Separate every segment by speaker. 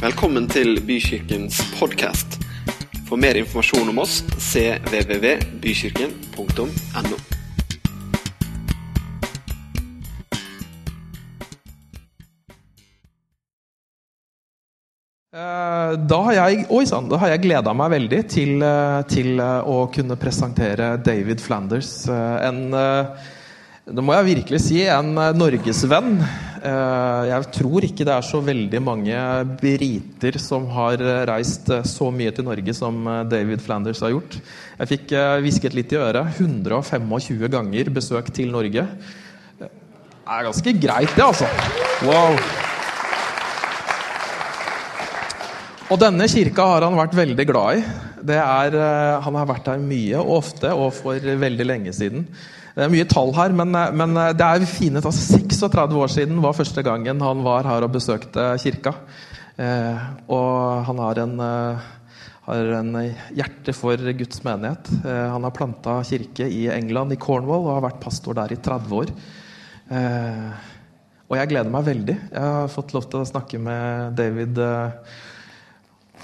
Speaker 1: Velkommen til Bykirkens podkast. For mer informasjon om oss cvvvbykirken.no.
Speaker 2: Eh, Da har jeg, oi sann, da har jeg gleda meg veldig til, eh, til eh, å kunne presentere David Flanders. eh, En eh, Det må jeg virkelig si, en eh, norgesvenn. Eh, Jeg tror ikke det er så veldig mange briter som har eh, reist eh, så mye til Norge som eh, David Flanders har gjort. Jeg fikk eh, hvisket litt i øret. 125 ganger besøk til Norge. Det er ganske greit, det, altså. Wow. Og denne kirka har han vært veldig glad i. Det er, eh, han har vært her mye og ofte, og for veldig lenge siden. Det er mye tall her, men, eh, men eh, det er fine tall. 36 år siden var første gangen han var her og besøkte kirka. Eh, og han har en, eh, har en hjerte for Guds menighet. Eh, han har planta kirke i England, i Cornwall, og har vært pastor der i 30 år. Eh, og jeg gleder meg veldig. Jeg har fått lov til å snakke med David. Eh,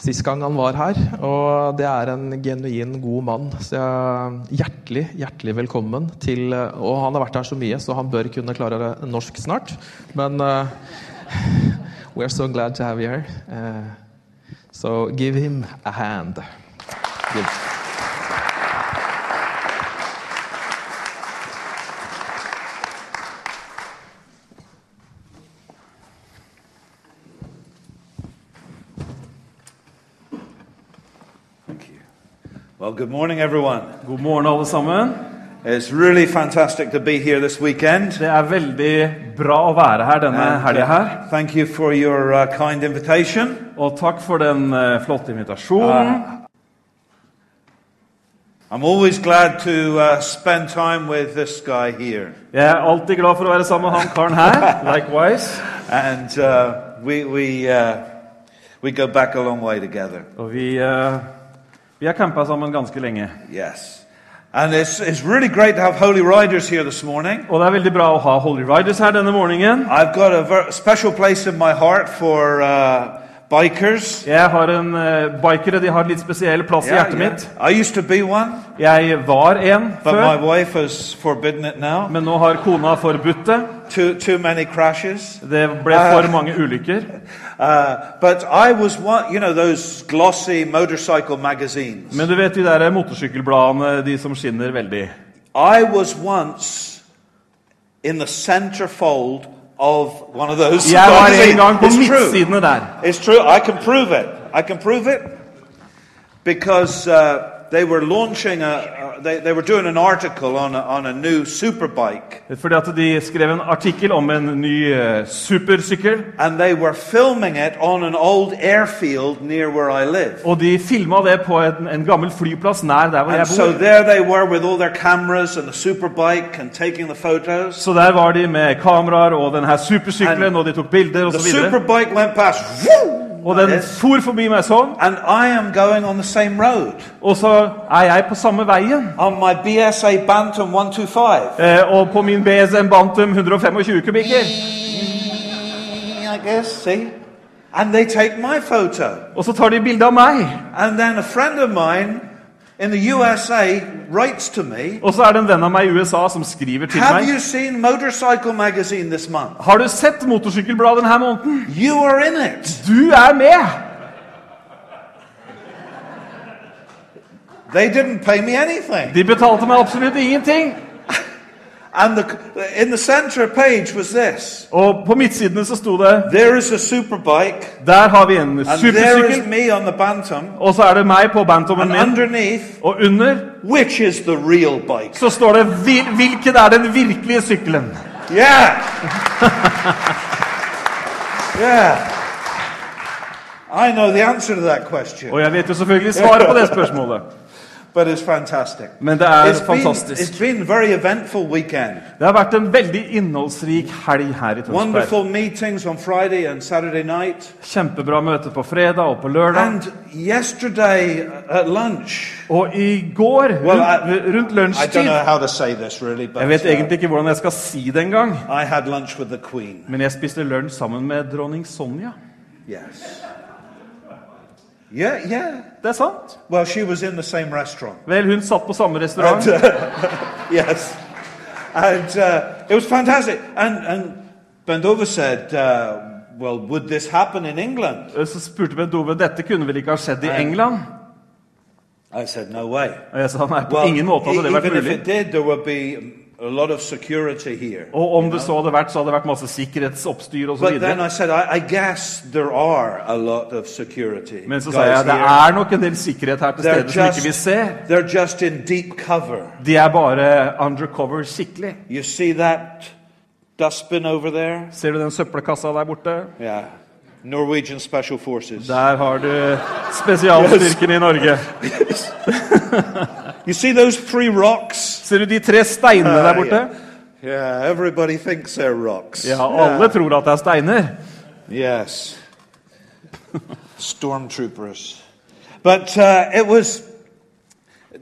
Speaker 2: sist gang han var her. Og det er en genuin god mann. Så jeg, hjertelig, hjertelig velkommen til Og han har vært her så mye, så han bør kunne klare norsk snart. Men eh, we're so glad to have you here. Eh, so give him a hand. Good.
Speaker 3: Thank you. Well, good morning, everyone.
Speaker 4: God morgen, alle sammen.
Speaker 3: It's really fantastic to be here this weekend.
Speaker 4: Det er veldig bra å være her denne helga her.
Speaker 3: uh, thank you for your uh, kind invitation.
Speaker 4: Og takk for den eh, flotte invitasjonen.
Speaker 3: I'm always glad to uh, spend time with this guy here.
Speaker 4: Jeg er alltid glad for å være sammen med han karen her. Likewise.
Speaker 3: And uh, we, we, uh, we go back a long way together.
Speaker 4: Og vi, eh, vi har campa sammen ganske lenge.
Speaker 3: Yes. And it's, it's really great to have Holy Riders here this morning.
Speaker 4: Og det er veldig bra å ha Holy Riders her denne morgenen.
Speaker 3: I've got a ver- special place in my heart for uh, bikers.
Speaker 4: Jeg har en eh, Bikere de har en litt spesiell plass i hjertet mitt.
Speaker 3: I used to be one,
Speaker 4: Jeg var en
Speaker 3: but my
Speaker 4: før,
Speaker 3: wife has forbidden it now.
Speaker 4: men nå har kona forbudt det.
Speaker 3: too, too many crashes.
Speaker 4: Det ble for mange ulykker.
Speaker 3: Uh, but I was one, you know, those glossy motorcycle magazines.
Speaker 4: Men du vet de der motorsykkelbladene, de som skinner veldig.
Speaker 3: I was once in the center fold of one of those
Speaker 4: Jeg var en
Speaker 3: magazines.
Speaker 4: gang på
Speaker 3: it's true.
Speaker 4: midtsidene der.
Speaker 3: It's true. I can prove it. I can prove it because uh, they were launching a. Uh, they, they were doing an article on a, on a new superbike,
Speaker 4: Fordi at de skrev en artikkel om en ny eh, supersykkel.
Speaker 3: and they were filming it on an old airfield near where I live.
Speaker 4: Og de filma det på en, en gammel flyplass nær der hvor
Speaker 3: And
Speaker 4: jeg
Speaker 3: so
Speaker 4: bor.
Speaker 3: there they were with all their cameras and the superbike and taking the photos.
Speaker 4: Så der var de med kameraer og den her supersykkelen, og de tok bilder
Speaker 3: The
Speaker 4: osv.
Speaker 3: superbike went past, woo,
Speaker 4: Og den for forbi meg sånn.
Speaker 3: and I am going on the same road
Speaker 4: Og så er jeg på samme veien.
Speaker 3: on my BSA Bantam 125.
Speaker 4: Eh, og på min BSM Bantum 125 kubikker.
Speaker 3: I guess, see? And they take my photo.
Speaker 4: Og så tar de bilde av meg.
Speaker 3: And then a friend of mine in the USA writes to me,
Speaker 4: Og så er det en venn av meg i USA som skriver til
Speaker 3: Have
Speaker 4: meg.
Speaker 3: you seen Motorcycle Magazine this month?
Speaker 4: Har du sett motorsykkelbladet denne måneden?
Speaker 3: You are in it.
Speaker 4: Du er med!
Speaker 3: They didn't pay me anything.
Speaker 4: De betalte meg absolutt ingenting.
Speaker 3: And the, in the center page was this.
Speaker 4: Og på midtsidene så sto det
Speaker 3: There is a superbike
Speaker 4: Der har vi en
Speaker 3: And there is
Speaker 4: supersykkel.
Speaker 3: me on the Bantam.
Speaker 4: Og så er det meg på bantomen
Speaker 3: And
Speaker 4: min.
Speaker 3: underneath,
Speaker 4: Og under
Speaker 3: which is the real bike?
Speaker 4: så står det "Hvil- 'Hvilken er den virkelige sykkelen?'
Speaker 3: Yeah! yeah. I know the answer to that question,
Speaker 4: Og jeg vet jo selvfølgelig svaret på det spørsmålet.
Speaker 3: but it's fantastic.
Speaker 4: Men det er
Speaker 3: It's been,
Speaker 4: fantastisk.
Speaker 3: it's been a very eventful weekend.
Speaker 4: Det har vært en veldig innholdsrik helg her i Tønsberg.
Speaker 3: Wonderful meetings on Friday and Saturday night.
Speaker 4: Kjempebra møte på fredag og på lørdag.
Speaker 3: And yesterday uh, at lunch,
Speaker 4: Og i går,
Speaker 3: Well,
Speaker 4: rundt,
Speaker 3: I-
Speaker 4: rundt
Speaker 3: I don't
Speaker 4: lunsjtid
Speaker 3: know how to say this really,
Speaker 4: Jeg
Speaker 3: but
Speaker 4: vet egentlig ikke hvordan jeg skal si det engang,
Speaker 3: uh, I had lunch with the Queen.
Speaker 4: men jeg spiste lunsj sammen med dronning Sonja.
Speaker 3: Yes. Yeah, yeah.
Speaker 4: Det er sant.
Speaker 3: Well, she was in the same restaurant. uh,
Speaker 4: Vel, hun satt på samme restaurant.
Speaker 3: Yes. And uh, it was fantastic. And, and Bendover said, uh, Well, would this happen in England?
Speaker 4: Eh, Så spurte Bendove dette kunne vel ikke ha skjedd i England?
Speaker 3: I said, No way.
Speaker 4: Og jeg sa nei, på
Speaker 3: Well,
Speaker 4: ingen måte hadde det vært
Speaker 3: even if
Speaker 4: mulig.
Speaker 3: it did, there would be a lot of security here.
Speaker 4: Og om det så hadde vært, så hadde det vært masse sikkerhetsoppstyr og Oh, så
Speaker 3: But then
Speaker 4: videre.
Speaker 3: I said, I, I guess there are a lot of security.
Speaker 4: Men så sa
Speaker 3: guys
Speaker 4: jeg det
Speaker 3: here.
Speaker 4: er nok en del sikkerhet her til
Speaker 3: They're
Speaker 4: stede som
Speaker 3: just,
Speaker 4: ikke vi ser.
Speaker 3: they're just in deep cover.
Speaker 4: De er bare undercover skikkelig.
Speaker 3: You see that dustbin over there?
Speaker 4: Ser du den søppelkassa der borte?
Speaker 3: Yeah. Norwegian Special Forces.
Speaker 4: Der har du spesialstyrkene i Norge.
Speaker 3: You see those three rocks? Ah,
Speaker 4: Ser du de tre steinene der borte?
Speaker 3: Yeah, everybody thinks they're rocks.
Speaker 4: Ja, alle tror at det er steiner.
Speaker 3: Yes. Stormtroopers. But uh, it was.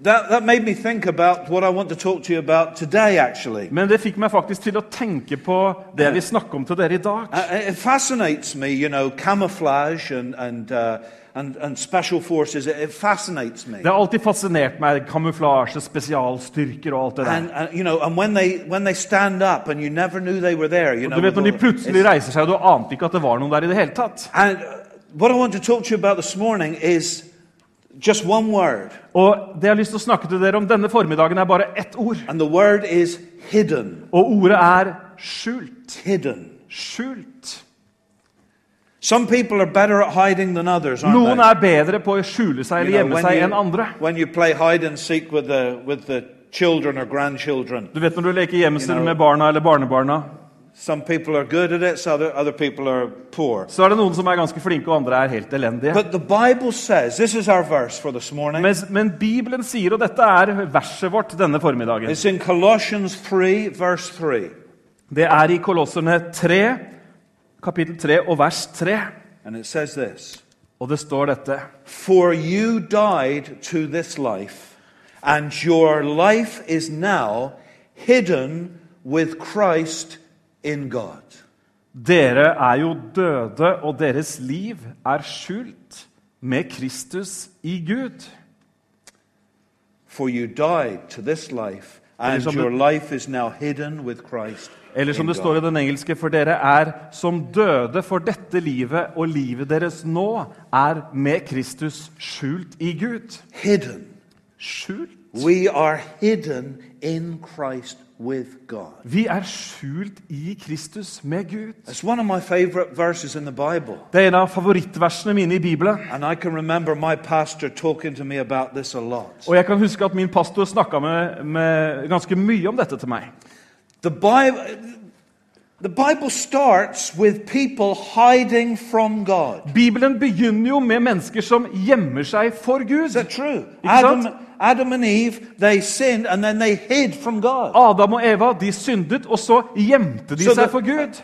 Speaker 3: That, that made me think about what I want to talk to you about today, actually.
Speaker 4: Men det fikk meg faktisk til å tenke på det vi snakker om til dere i dag.
Speaker 3: Uh, it fascinates me, you know, camouflage and, and, uh, and, and special forces. It, it fascinates me.
Speaker 4: Det har alltid fascinert meg, kamuflasje, spesialstyrker og alt det der.
Speaker 3: And, and you know, and when they when they stand up, and you never knew they were there. You know,
Speaker 4: Du vet
Speaker 3: with
Speaker 4: når de
Speaker 3: all the-
Speaker 4: plutselig reiser seg, og du ante ikke at det var noen der i det hele tatt.
Speaker 3: And uh, what I want to talk to you about this morning is just one word,
Speaker 4: Og det jeg har lyst til å snakke til dere om denne formiddagen, er bare ett ord.
Speaker 3: and the word is hidden.
Speaker 4: Og ordet er skjult.
Speaker 3: Hidden.
Speaker 4: Skjult.
Speaker 3: Some people are better at hiding than others, aren't
Speaker 4: Noen
Speaker 3: they?
Speaker 4: er bedre på å skjule
Speaker 3: You
Speaker 4: seg eller
Speaker 3: know,
Speaker 4: gjemme seg enn andre.
Speaker 3: when you play hide and seek with the with the children or grandchildren,
Speaker 4: Du vet når du leker gjemsel
Speaker 3: You know-
Speaker 4: med barna eller barnebarna,
Speaker 3: some people are good at it, so other other people are poor.
Speaker 4: så er det noen som er ganske flinke, og andre er helt elendige.
Speaker 3: But the Bible says this is our verse for this morning.
Speaker 4: Men, men Bibelen sier, og dette er verset vårt denne formiddagen
Speaker 3: It's in Colossians 3, verse 3.
Speaker 4: Det er i Kolosserne 3, kapittel 3 og vers 3.
Speaker 3: And it says this
Speaker 4: Og det står dette
Speaker 3: For you died to this life, and your life is now hidden with Christ in God.
Speaker 4: Dere er jo døde, og deres liv er skjult med Kristus i Gud.
Speaker 3: For you died to this life, and
Speaker 4: Elisabeth-
Speaker 3: your life is now hidden with Christ.
Speaker 4: Eller som
Speaker 3: in
Speaker 4: det
Speaker 3: God.
Speaker 4: står i den engelske, for dere er som døde for dette livet, og livet deres nå er med Kristus skjult i Gud.
Speaker 3: Hidden.
Speaker 4: Skjult?
Speaker 3: We are hidden in Christ with God.
Speaker 4: Vi er skjult i Kristus med Gud.
Speaker 3: It's one of my favorite verses in the Bible.
Speaker 4: Det er en av favorittversene mine i Bibelen.
Speaker 3: And I can remember my pastor talking to me about this a lot.
Speaker 4: Og jeg kan huske at min pastor snakka med, med ganske mye om dette til meg.
Speaker 3: The Bible, the Bible starts with people hiding from God.
Speaker 4: Bibelen begynner jo med mennesker som gjemmer seg for Gud.
Speaker 3: Is that true?
Speaker 4: Is
Speaker 3: Adam,
Speaker 4: that-
Speaker 3: Adam and Eve, they sinned and then they hid from God.
Speaker 4: Adam og Eva de syndet, og så gjemte de
Speaker 3: Så
Speaker 4: seg
Speaker 3: det-
Speaker 4: for Gud.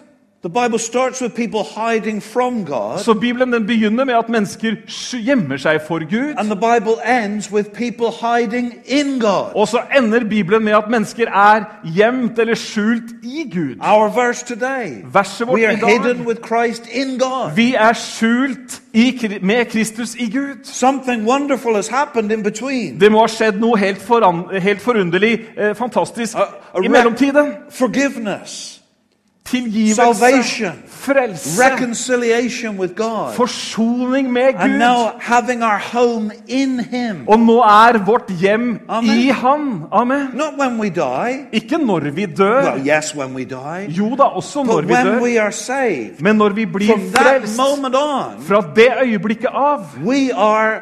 Speaker 3: The Bible starts with people hiding from God,
Speaker 4: Så Bibelen den begynner med at mennesker sk- gjemmer seg for Gud.
Speaker 3: and the Bible ends with people hiding in God.
Speaker 4: Og så ender Bibelen med at mennesker er gjemt eller skjult i Gud.
Speaker 3: Our verse today
Speaker 4: Verset vårt
Speaker 3: we are
Speaker 4: i dag.
Speaker 3: hidden with Christ in God.
Speaker 4: Vi er skjult i, Kri- med Kristus i Gud.
Speaker 3: Something wonderful has happened in between.
Speaker 4: Det må ha skjedd noe helt, foran, helt forunderlig, eh, fantastisk,
Speaker 3: A- a
Speaker 4: i
Speaker 3: rec-
Speaker 4: mellomtiden.
Speaker 3: Forgiveness,
Speaker 4: Tilgivelse,
Speaker 3: Salvation.
Speaker 4: frelse,
Speaker 3: reconciliation with God.
Speaker 4: forsoning med
Speaker 3: And
Speaker 4: Gud.
Speaker 3: now having our home in Him.
Speaker 4: Og nå er vårt hjem
Speaker 3: Amen.
Speaker 4: i Han. Amen.
Speaker 3: Not when we die.
Speaker 4: Ikke når vi dør.
Speaker 3: Well, yes, when we die.
Speaker 4: Jo da, også
Speaker 3: But
Speaker 4: når vi
Speaker 3: when
Speaker 4: dør.
Speaker 3: we are saved,
Speaker 4: Men når vi blir
Speaker 3: from that
Speaker 4: frelst
Speaker 3: moment on,
Speaker 4: fra det øyeblikket av,
Speaker 3: we are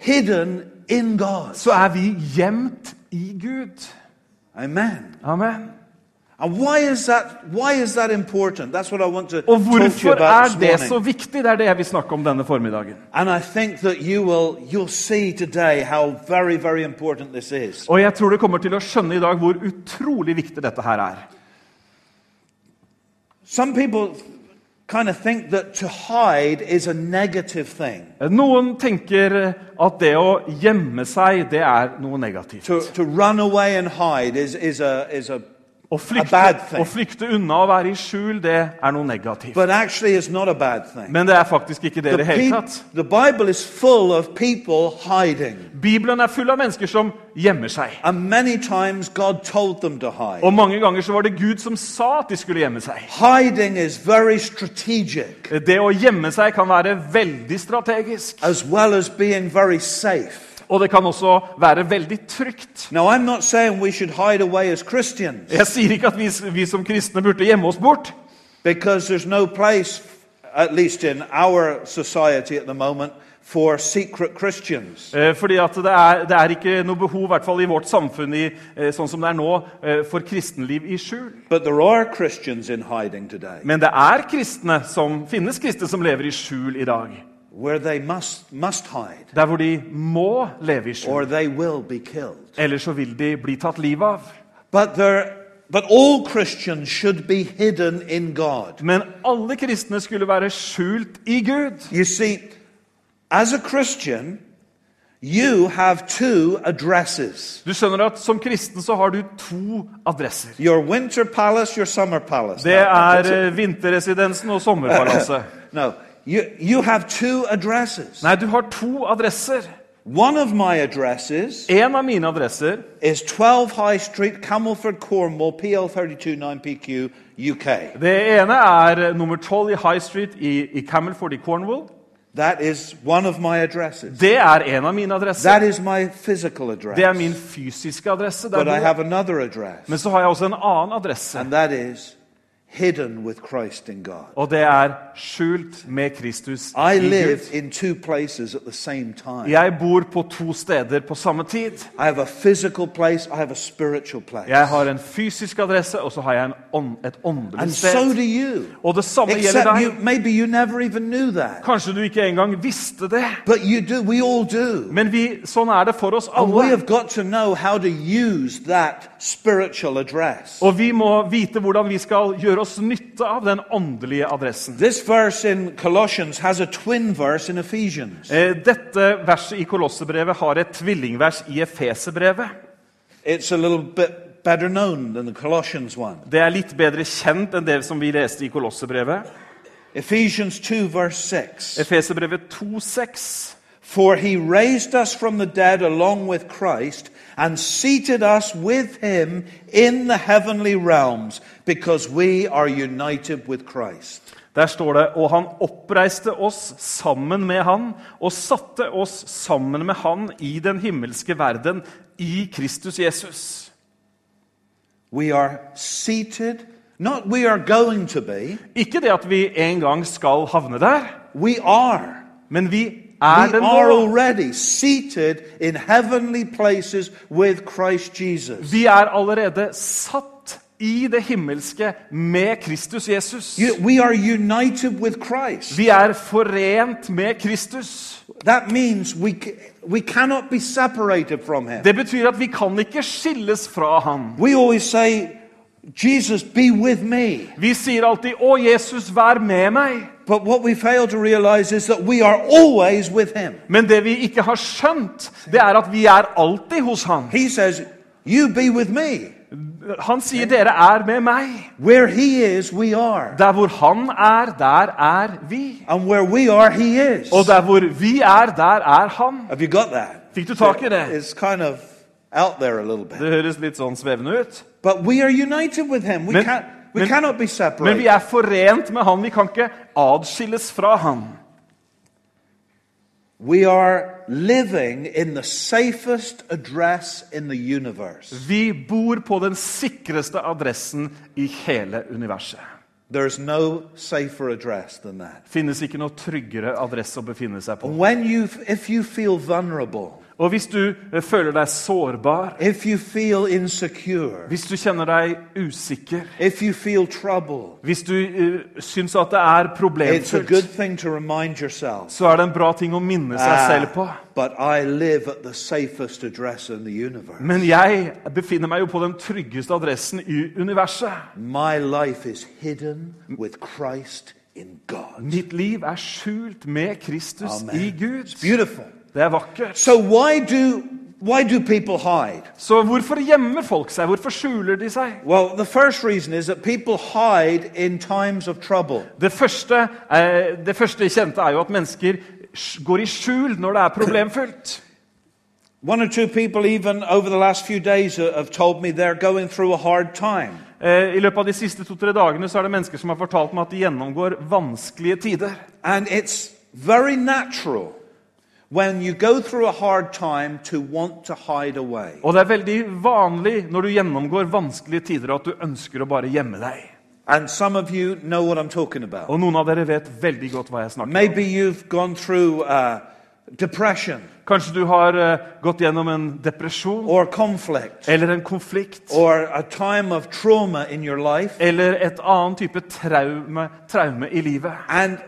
Speaker 3: hidden in God.
Speaker 4: så er vi gjemt i Gud.
Speaker 3: Amen.
Speaker 4: Amen.
Speaker 3: And why is that, why is that important? That's what I want to
Speaker 4: Og
Speaker 3: talk to you
Speaker 4: hvorfor er
Speaker 3: about
Speaker 4: det
Speaker 3: this
Speaker 4: så
Speaker 3: morning.
Speaker 4: viktig? Det er det jeg vil snakke om denne formiddagen.
Speaker 3: And I think that you will, you'll see today how very, very important this is.
Speaker 4: Og jeg tror du kommer til å skjønne i dag hvor utrolig viktig dette her er.
Speaker 3: Some people kind of think that to hide is a negative thing.
Speaker 4: Noen tenker at det å gjemme seg, det er noe negativt.
Speaker 3: To, to run away and hide is, is, a, is a
Speaker 4: Å
Speaker 3: bad
Speaker 4: flykte,
Speaker 3: thing.
Speaker 4: å flykte unna å være i skjul, det er noe negativt.
Speaker 3: But actually, it's not a bad thing.
Speaker 4: Men det er faktisk ikke det i
Speaker 3: The,
Speaker 4: det hele
Speaker 3: peop-
Speaker 4: tatt.
Speaker 3: the Bible is full of people hiding.
Speaker 4: Bibelen er full av mennesker som gjemmer seg.
Speaker 3: And many times God told them to hide.
Speaker 4: Og mange ganger så var det Gud som sa at de skulle gjemme seg.
Speaker 3: Hiding is very strategic
Speaker 4: Det å gjemme seg kan være veldig strategisk.
Speaker 3: as well as being very safe.
Speaker 4: Og det kan også være veldig trygt.
Speaker 3: Now, I'm not saying we should hide away as Christians
Speaker 4: Jeg sier ikke at vi, vi som kristne burde gjemme oss bort.
Speaker 3: because there's no place, at least in our society at the moment, for secret Christians.
Speaker 4: Eh, Fordi at det er, det er ikke noe behov, i hvert fall i vårt samfunn, i, eh, sånn som det er nå, eh, for kristenliv i skjul.
Speaker 3: But there are Christians in hiding today
Speaker 4: Men det er kristne som, finnes kristne som lever i skjul i dag.
Speaker 3: where they must, must hide
Speaker 4: Der hvor de må leve i
Speaker 3: or
Speaker 4: skjul.
Speaker 3: they will be killed.
Speaker 4: Ellers så vil de bli tatt livet av.
Speaker 3: But, there, but all Christians should be hidden in God.
Speaker 4: Men alle kristne skulle være skjult i Gud.
Speaker 3: You see, as a Christian, you have two addresses
Speaker 4: Du skjønner at Som kristen så har du to adresser.
Speaker 3: your winter palace, your summer palace.
Speaker 4: Det er eh, vinterresidensen og sommerpalasset.
Speaker 3: No, you, you have two addresses.
Speaker 4: Nei, du har to adresser.
Speaker 3: One of my addresses
Speaker 4: En av mine adresser
Speaker 3: is 12 High Street, Camelford, Cornwall, PL329PQ, UK.
Speaker 4: Det ene er nummer 12 i High Street i, i Camelford i Cornwall.
Speaker 3: That is one of my addresses.
Speaker 4: Det er en av mine adresser.
Speaker 3: That is my physical
Speaker 4: Det er
Speaker 3: address.
Speaker 4: min fysiske adresse. der
Speaker 3: But I
Speaker 4: bor jeg.
Speaker 3: have another address,
Speaker 4: Men så har jeg også en annen adresse,
Speaker 3: and that is hidden with Christ in God.
Speaker 4: og det er skjult med Kristus
Speaker 3: I
Speaker 4: i
Speaker 3: live
Speaker 4: Gud.
Speaker 3: in two places at the same time.
Speaker 4: Jeg bor på to steder på samme tid.
Speaker 3: I have a physical place, I have a spiritual place.
Speaker 4: Jeg har en fysisk adresse, og så har jeg en ånd, et åndelig
Speaker 3: and so do
Speaker 4: sted.
Speaker 3: you.
Speaker 4: Og det samme gjelder
Speaker 3: Except you,
Speaker 4: deg.
Speaker 3: maybe you never even knew that.
Speaker 4: Kanskje du ikke engang visste det,
Speaker 3: But you do, we all do.
Speaker 4: men vi, sånn er det for oss
Speaker 3: And we
Speaker 4: alle.
Speaker 3: have got to know how to use that spiritual address.
Speaker 4: Og vi må vite hvordan vi skal gjøre oss nytte av den åndelige adressen.
Speaker 3: This verse in Colossians has a twin verse in Ephesians.
Speaker 4: Eh, Dette verset i Kolossebrevet har et tvillingvers i Efeserbrevet.
Speaker 3: It's a little bit better known than the Colossians one.
Speaker 4: Det er litt bedre kjent enn det som vi leste i Kolossebrevet.
Speaker 3: Ephesians 2, verse 6.
Speaker 4: Efeserbrevet 2,6.
Speaker 3: For he raised us from the dead along with Christ and seated us with him in the heavenly realms because we are united with Christ.
Speaker 4: Der står det Og han oppreiste oss sammen med han, og satte oss sammen med han i den himmelske verden, i Kristus Jesus.
Speaker 3: We are seated, not we are going to be,
Speaker 4: Ikke det at vi en gang skal havne der,
Speaker 3: we are.
Speaker 4: men vi er
Speaker 3: We
Speaker 4: det
Speaker 3: are
Speaker 4: nå.
Speaker 3: already seated in heavenly places with Christ Jesus.
Speaker 4: Vi er allerede satt i det himmelske med Kristus Jesus.
Speaker 3: You- We are united with Christ.
Speaker 4: Vi er forent med Kristus.
Speaker 3: That means we, c- we cannot be separated from him.
Speaker 4: Det betyr at vi kan ikke skilles fra Han.
Speaker 3: We always say, Jesus, be with me.
Speaker 4: Vi sier alltid 'Å, Jesus, vær med meg',
Speaker 3: But what we fail to realize is that we are always with him.
Speaker 4: men det vi ikke har skjønt, det er at vi er alltid hos Han.
Speaker 3: He says, You be with me.
Speaker 4: Han sier 'Dere er med meg'.
Speaker 3: Where he is, we are.
Speaker 4: Der hvor Han er, der er vi.
Speaker 3: And where we are, he is.
Speaker 4: Og der hvor vi er, der er Han.
Speaker 3: Have you got that?
Speaker 4: Fikk du tak i det?
Speaker 3: It's kind of out there a little bit.
Speaker 4: Det høres litt sånn svevende ut.
Speaker 3: But we are united with him. We,
Speaker 4: Men-
Speaker 3: can't, we
Speaker 4: men-
Speaker 3: cannot be
Speaker 4: Men
Speaker 3: separated.
Speaker 4: vi er forent med Han. Vi kan ikke adskilles fra Han.
Speaker 3: We are living in the safest address in the universe.
Speaker 4: Vi bor på den sikreste adressen i hele universet.
Speaker 3: There is no safer address than that.
Speaker 4: Finnes ikke noe tryggere adresse å befinne seg på.
Speaker 3: When you, if you feel vulnerable,
Speaker 4: Og hvis du eh, føler deg sårbar,
Speaker 3: if you feel insecure,
Speaker 4: hvis du kjenner deg usikker,
Speaker 3: if you feel trouble,
Speaker 4: hvis du eh, syns at det
Speaker 3: it's
Speaker 4: er
Speaker 3: a good
Speaker 4: problemfullt,
Speaker 3: thing to remind yourself.
Speaker 4: så er det en bra ting å minne seg selv på.
Speaker 3: "Ah, but I live at the safest address in the universe.
Speaker 4: Men jeg befinner meg jo på den tryggeste adressen i universet.
Speaker 3: My life is hidden with Christ in God.
Speaker 4: Mitt liv er skjult med Kristus
Speaker 3: Amen.
Speaker 4: i
Speaker 3: It's
Speaker 4: Gud.
Speaker 3: beautiful.
Speaker 4: Det er vakkert.
Speaker 3: So why do Why do people hide?
Speaker 4: Så hvorfor gjemmer folk seg? Hvorfor skjuler de seg?
Speaker 3: Well, the first reason is that people hide in times of trouble.
Speaker 4: Det første, eh, det første kjente er jo at mennesker sj- går i skjul når det er problemfullt.
Speaker 3: One or two people, even over the last few days, uh, have told me they're going through a hard time.
Speaker 4: Eh, I løpet av de siste to-tre dagene så er det mennesker som har fortalt meg at de gjennomgår vanskelige tider.
Speaker 3: And it's very natural when you go through a hard time to want to hide away.
Speaker 4: Og det er veldig vanlig når du gjennomgår vanskelige tider at du ønsker å bare gjemme deg.
Speaker 3: And some of you know what I'm talking about.
Speaker 4: Og noen av dere vet veldig godt hva jeg snakker om.
Speaker 3: Maybe you've gone through uh, depression
Speaker 4: Kanskje du har eh, gått gjennom en depresjon
Speaker 3: or conflict
Speaker 4: eller en konflikt
Speaker 3: or a time of trauma in your life.
Speaker 4: eller et annen type traume, traume i livet.
Speaker 3: And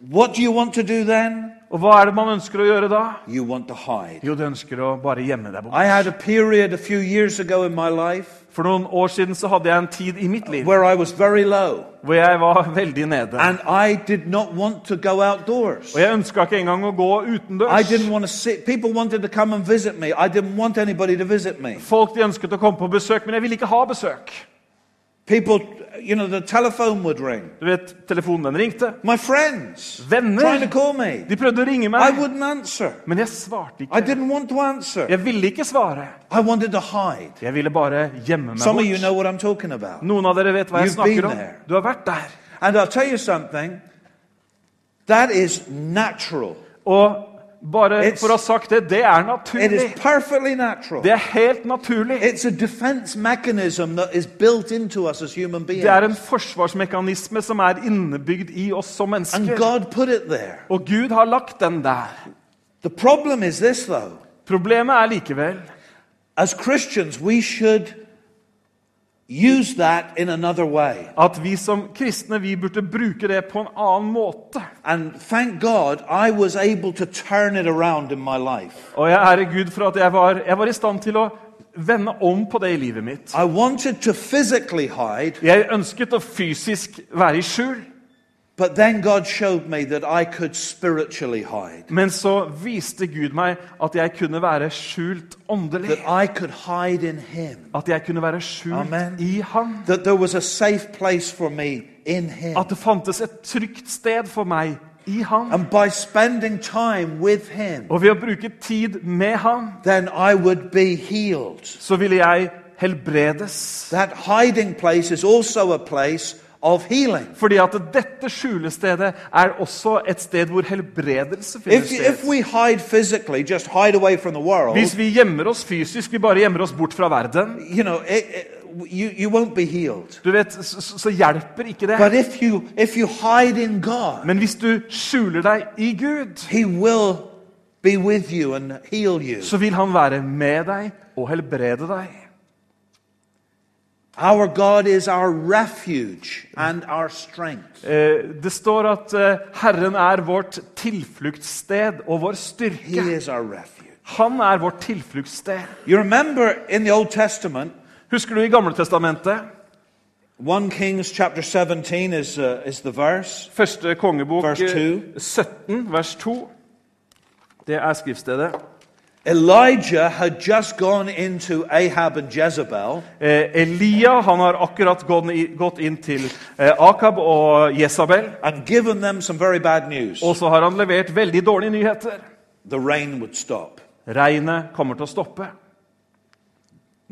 Speaker 3: what do you want to do then?
Speaker 4: Og hva er det man ønsker å gjøre da?
Speaker 3: You want to hide.
Speaker 4: Jo, du ønsker å bare gjemme deg bort.
Speaker 3: I had a period a few years ago in my life
Speaker 4: For noen år siden så hadde jeg en tid i mitt liv
Speaker 3: where I was very low.
Speaker 4: hvor jeg var veldig nede.
Speaker 3: And I did not want to go outdoors.
Speaker 4: Og jeg ønska ikke engang å gå
Speaker 3: I
Speaker 4: utendørs.
Speaker 3: didn't want to see. People wanted to come and visit me. I didn't want anybody to visit me.
Speaker 4: Folk de ønsket å komme på besøk, men jeg ville ikke ha besøk.
Speaker 3: People, you know, the telephone would ring.
Speaker 4: Du vet, telefonen den ringte.
Speaker 3: My friends trying to
Speaker 4: Venner
Speaker 3: call me.
Speaker 4: de prøvde å ringe
Speaker 3: I
Speaker 4: meg,
Speaker 3: wouldn't answer.
Speaker 4: men jeg svarte
Speaker 3: I
Speaker 4: ikke.
Speaker 3: didn't want to answer.
Speaker 4: Jeg ville ikke svare.
Speaker 3: I wanted to hide.
Speaker 4: Jeg ville bare gjemme meg
Speaker 3: Some of you know
Speaker 4: bort.
Speaker 3: what I'm talking about.
Speaker 4: Noen av dere vet hva jeg
Speaker 3: You've been
Speaker 4: snakker om.
Speaker 3: there.
Speaker 4: Du har vært der.
Speaker 3: And I'll tell you something. That is natural.
Speaker 4: Og bare
Speaker 3: It's-
Speaker 4: for å ha sagt det, det er
Speaker 3: It
Speaker 4: naturlig.
Speaker 3: is perfectly natural.
Speaker 4: Det er helt naturlig.
Speaker 3: It's a defense mechanism that is built into us as human beings.
Speaker 4: Det er en forsvarsmekanisme som er innebygd i oss som
Speaker 3: And
Speaker 4: mennesker.
Speaker 3: God put it there.
Speaker 4: Og Gud har lagt den der.
Speaker 3: The problem is this, though.
Speaker 4: Problemet er likevel
Speaker 3: As Christians, we should use that in another way.
Speaker 4: at vi som kristne vi burde bruke det på en annen måte.
Speaker 3: And thank God I was able to turn it around in my life.
Speaker 4: Og jeg ærer Gud for at jeg var, jeg var i stand til å vende om på det i livet mitt.
Speaker 3: I wanted to physically hide,
Speaker 4: Jeg ønsket å fysisk være i skjul,
Speaker 3: but then God showed me that I could spiritually hide,
Speaker 4: men så viste Gud meg at jeg kunne være skjult åndelig.
Speaker 3: that I could hide in Him,
Speaker 4: At jeg kunne være skjult
Speaker 3: Amen.
Speaker 4: i Han.
Speaker 3: that there was a safe place for me in Him.
Speaker 4: At det fantes et trygt sted for meg i Han.
Speaker 3: And by spending time with Him,
Speaker 4: Og ved å bruke tid med Han,
Speaker 3: then I would be healed.
Speaker 4: så ville jeg helbredes.
Speaker 3: That hiding place is also a place of healing.
Speaker 4: Fordi at dette skjulestedet er også et sted hvor helbredelse finner
Speaker 3: If, if
Speaker 4: sted.
Speaker 3: we hide physically, just hide away from the world,
Speaker 4: Hvis vi gjemmer oss fysisk, vi bare gjemmer oss bort fra verden,
Speaker 3: you know, it, it, you, you won't be healed.
Speaker 4: Du vet, så, så- så hjelper ikke det.
Speaker 3: But if you, if you hide in God,
Speaker 4: Men hvis du skjuler deg i Gud,
Speaker 3: He will be with you and heal you.
Speaker 4: så vil han være med deg og helbrede deg.
Speaker 3: Our God is our refuge and our strength.
Speaker 4: Eh, Det står at eh, Herren er vårt tilfluktssted og vår
Speaker 3: He
Speaker 4: styrke.
Speaker 3: is our refuge.
Speaker 4: Han er vårt tilfluktssted.
Speaker 3: You remember in the Old Testament,
Speaker 4: Husker du i Gamletestamentet?
Speaker 3: 1 Kings chapter 17 is, uh, is the verse.
Speaker 4: Første kongebok
Speaker 3: Vers
Speaker 4: eh,
Speaker 3: to.
Speaker 4: 17, vers 2. Det er skriftstedet.
Speaker 3: Elijah had just gone into Ahab and Jezebel.
Speaker 4: Eh, Elia han har akkurat gått i- gått inn til eh, Akab og Jesabel.
Speaker 3: and given them some very bad news.
Speaker 4: Og så har han levert veldig dårlige nyheter.
Speaker 3: The rain would stop.
Speaker 4: Regnet kommer til å stoppe.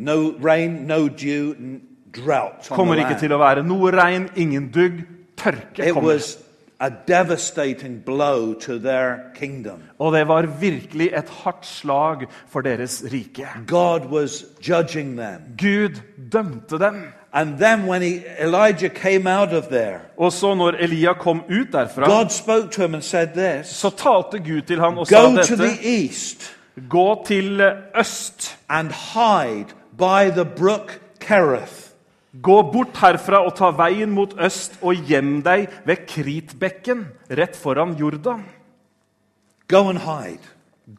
Speaker 3: No rain, no dew, n- drought. On
Speaker 4: Kommer
Speaker 3: the
Speaker 4: ikke
Speaker 3: land.
Speaker 4: til å være noe regn, ingen dugg. Tørke
Speaker 3: It
Speaker 4: kommer.
Speaker 3: was a devastating blow to their kingdom.
Speaker 4: Og det var virkelig et hardt slag for deres rike.
Speaker 3: God was judging them.
Speaker 4: Gud dømte dem.
Speaker 3: And then when he, Elijah came out of there,
Speaker 4: Og så, når Elia kom ut derfra,
Speaker 3: God spoke to him and said this
Speaker 4: så talte Gud til ham og sa
Speaker 3: Go to the
Speaker 4: dette.:
Speaker 3: east
Speaker 4: Gå til øst.
Speaker 3: and hide by the brook Kerith.
Speaker 4: Gå bort herfra og ta veien mot øst og gjem deg ved Kritbekken, rett foran Jordan.
Speaker 3: Go and hide.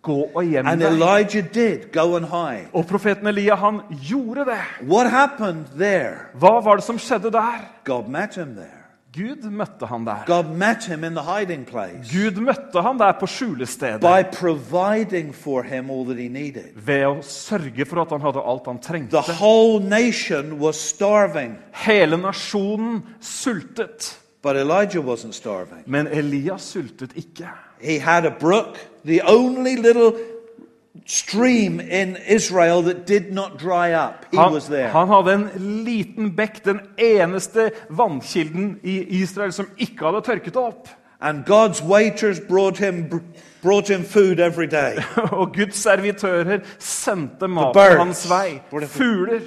Speaker 4: Gå og gjem
Speaker 3: And
Speaker 4: deg.
Speaker 3: Elijah did go and hide.
Speaker 4: Og profeten Elia, han gjorde det.
Speaker 3: What happened there?
Speaker 4: Hva var det som skjedde der?
Speaker 3: God met him there.
Speaker 4: Gud møtte han der.
Speaker 3: God met him in the hiding place
Speaker 4: Gud møtte han der på skjulestedet
Speaker 3: by providing for him all that he needed.
Speaker 4: ved å sørge for at han hadde alt han
Speaker 3: The
Speaker 4: trengte.
Speaker 3: whole nation was starving,
Speaker 4: Hele nasjonen sultet,
Speaker 3: but Elijah wasn't starving.
Speaker 4: men Elias sultet ikke.
Speaker 3: He had a brook, the only little stream in Israel that did not dry up. He
Speaker 4: Han,
Speaker 3: was there.
Speaker 4: han hadde en liten bekk, den eneste vannkilden i Israel som ikke hadde tørket opp.
Speaker 3: And God's waiters brought him, brought him food every day.
Speaker 4: Og Guds servitører sendte
Speaker 3: birds.
Speaker 4: maten hans vei.
Speaker 3: What if-
Speaker 4: Fugler.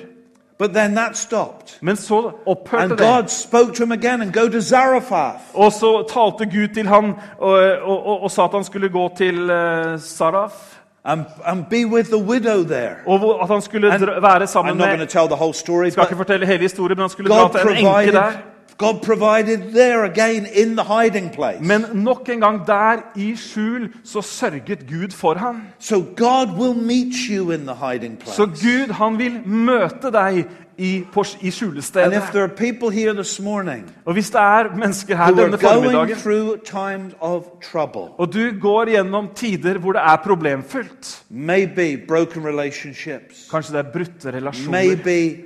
Speaker 3: But then that stopped.
Speaker 4: Men så opphørte
Speaker 3: And
Speaker 4: det.
Speaker 3: God spoke to him again and go to Zarephath.
Speaker 4: Og så talte Gud til han og, og, og, og sa at han skulle gå til eh, Saraf.
Speaker 3: and, and be with the widow there.
Speaker 4: Og hvor- at han skulle
Speaker 3: And-
Speaker 4: dra, være
Speaker 3: I'm
Speaker 4: sammen
Speaker 3: not going to
Speaker 4: med
Speaker 3: tell the whole story,
Speaker 4: Skal ikke
Speaker 3: but
Speaker 4: fortelle hele historien, men han skulle dra
Speaker 3: God
Speaker 4: til en enke der.
Speaker 3: provided, God provided there again in the hiding place.
Speaker 4: Men nok en gang der, i skjul, så sørget Gud for ham.
Speaker 3: So God will meet you in the hiding
Speaker 4: Så
Speaker 3: place.
Speaker 4: Gud, han vil møte deg i, på, i
Speaker 3: And if
Speaker 4: skjulestedet.
Speaker 3: there are people here this morning
Speaker 4: Og hvis det er mennesker her
Speaker 3: who are
Speaker 4: denne
Speaker 3: going
Speaker 4: formiddagen,
Speaker 3: through times of trouble,
Speaker 4: og du går gjennom tider hvor det er problemfylt
Speaker 3: maybe broken relationships,
Speaker 4: Kanskje det er brutte relasjoner.
Speaker 3: maybe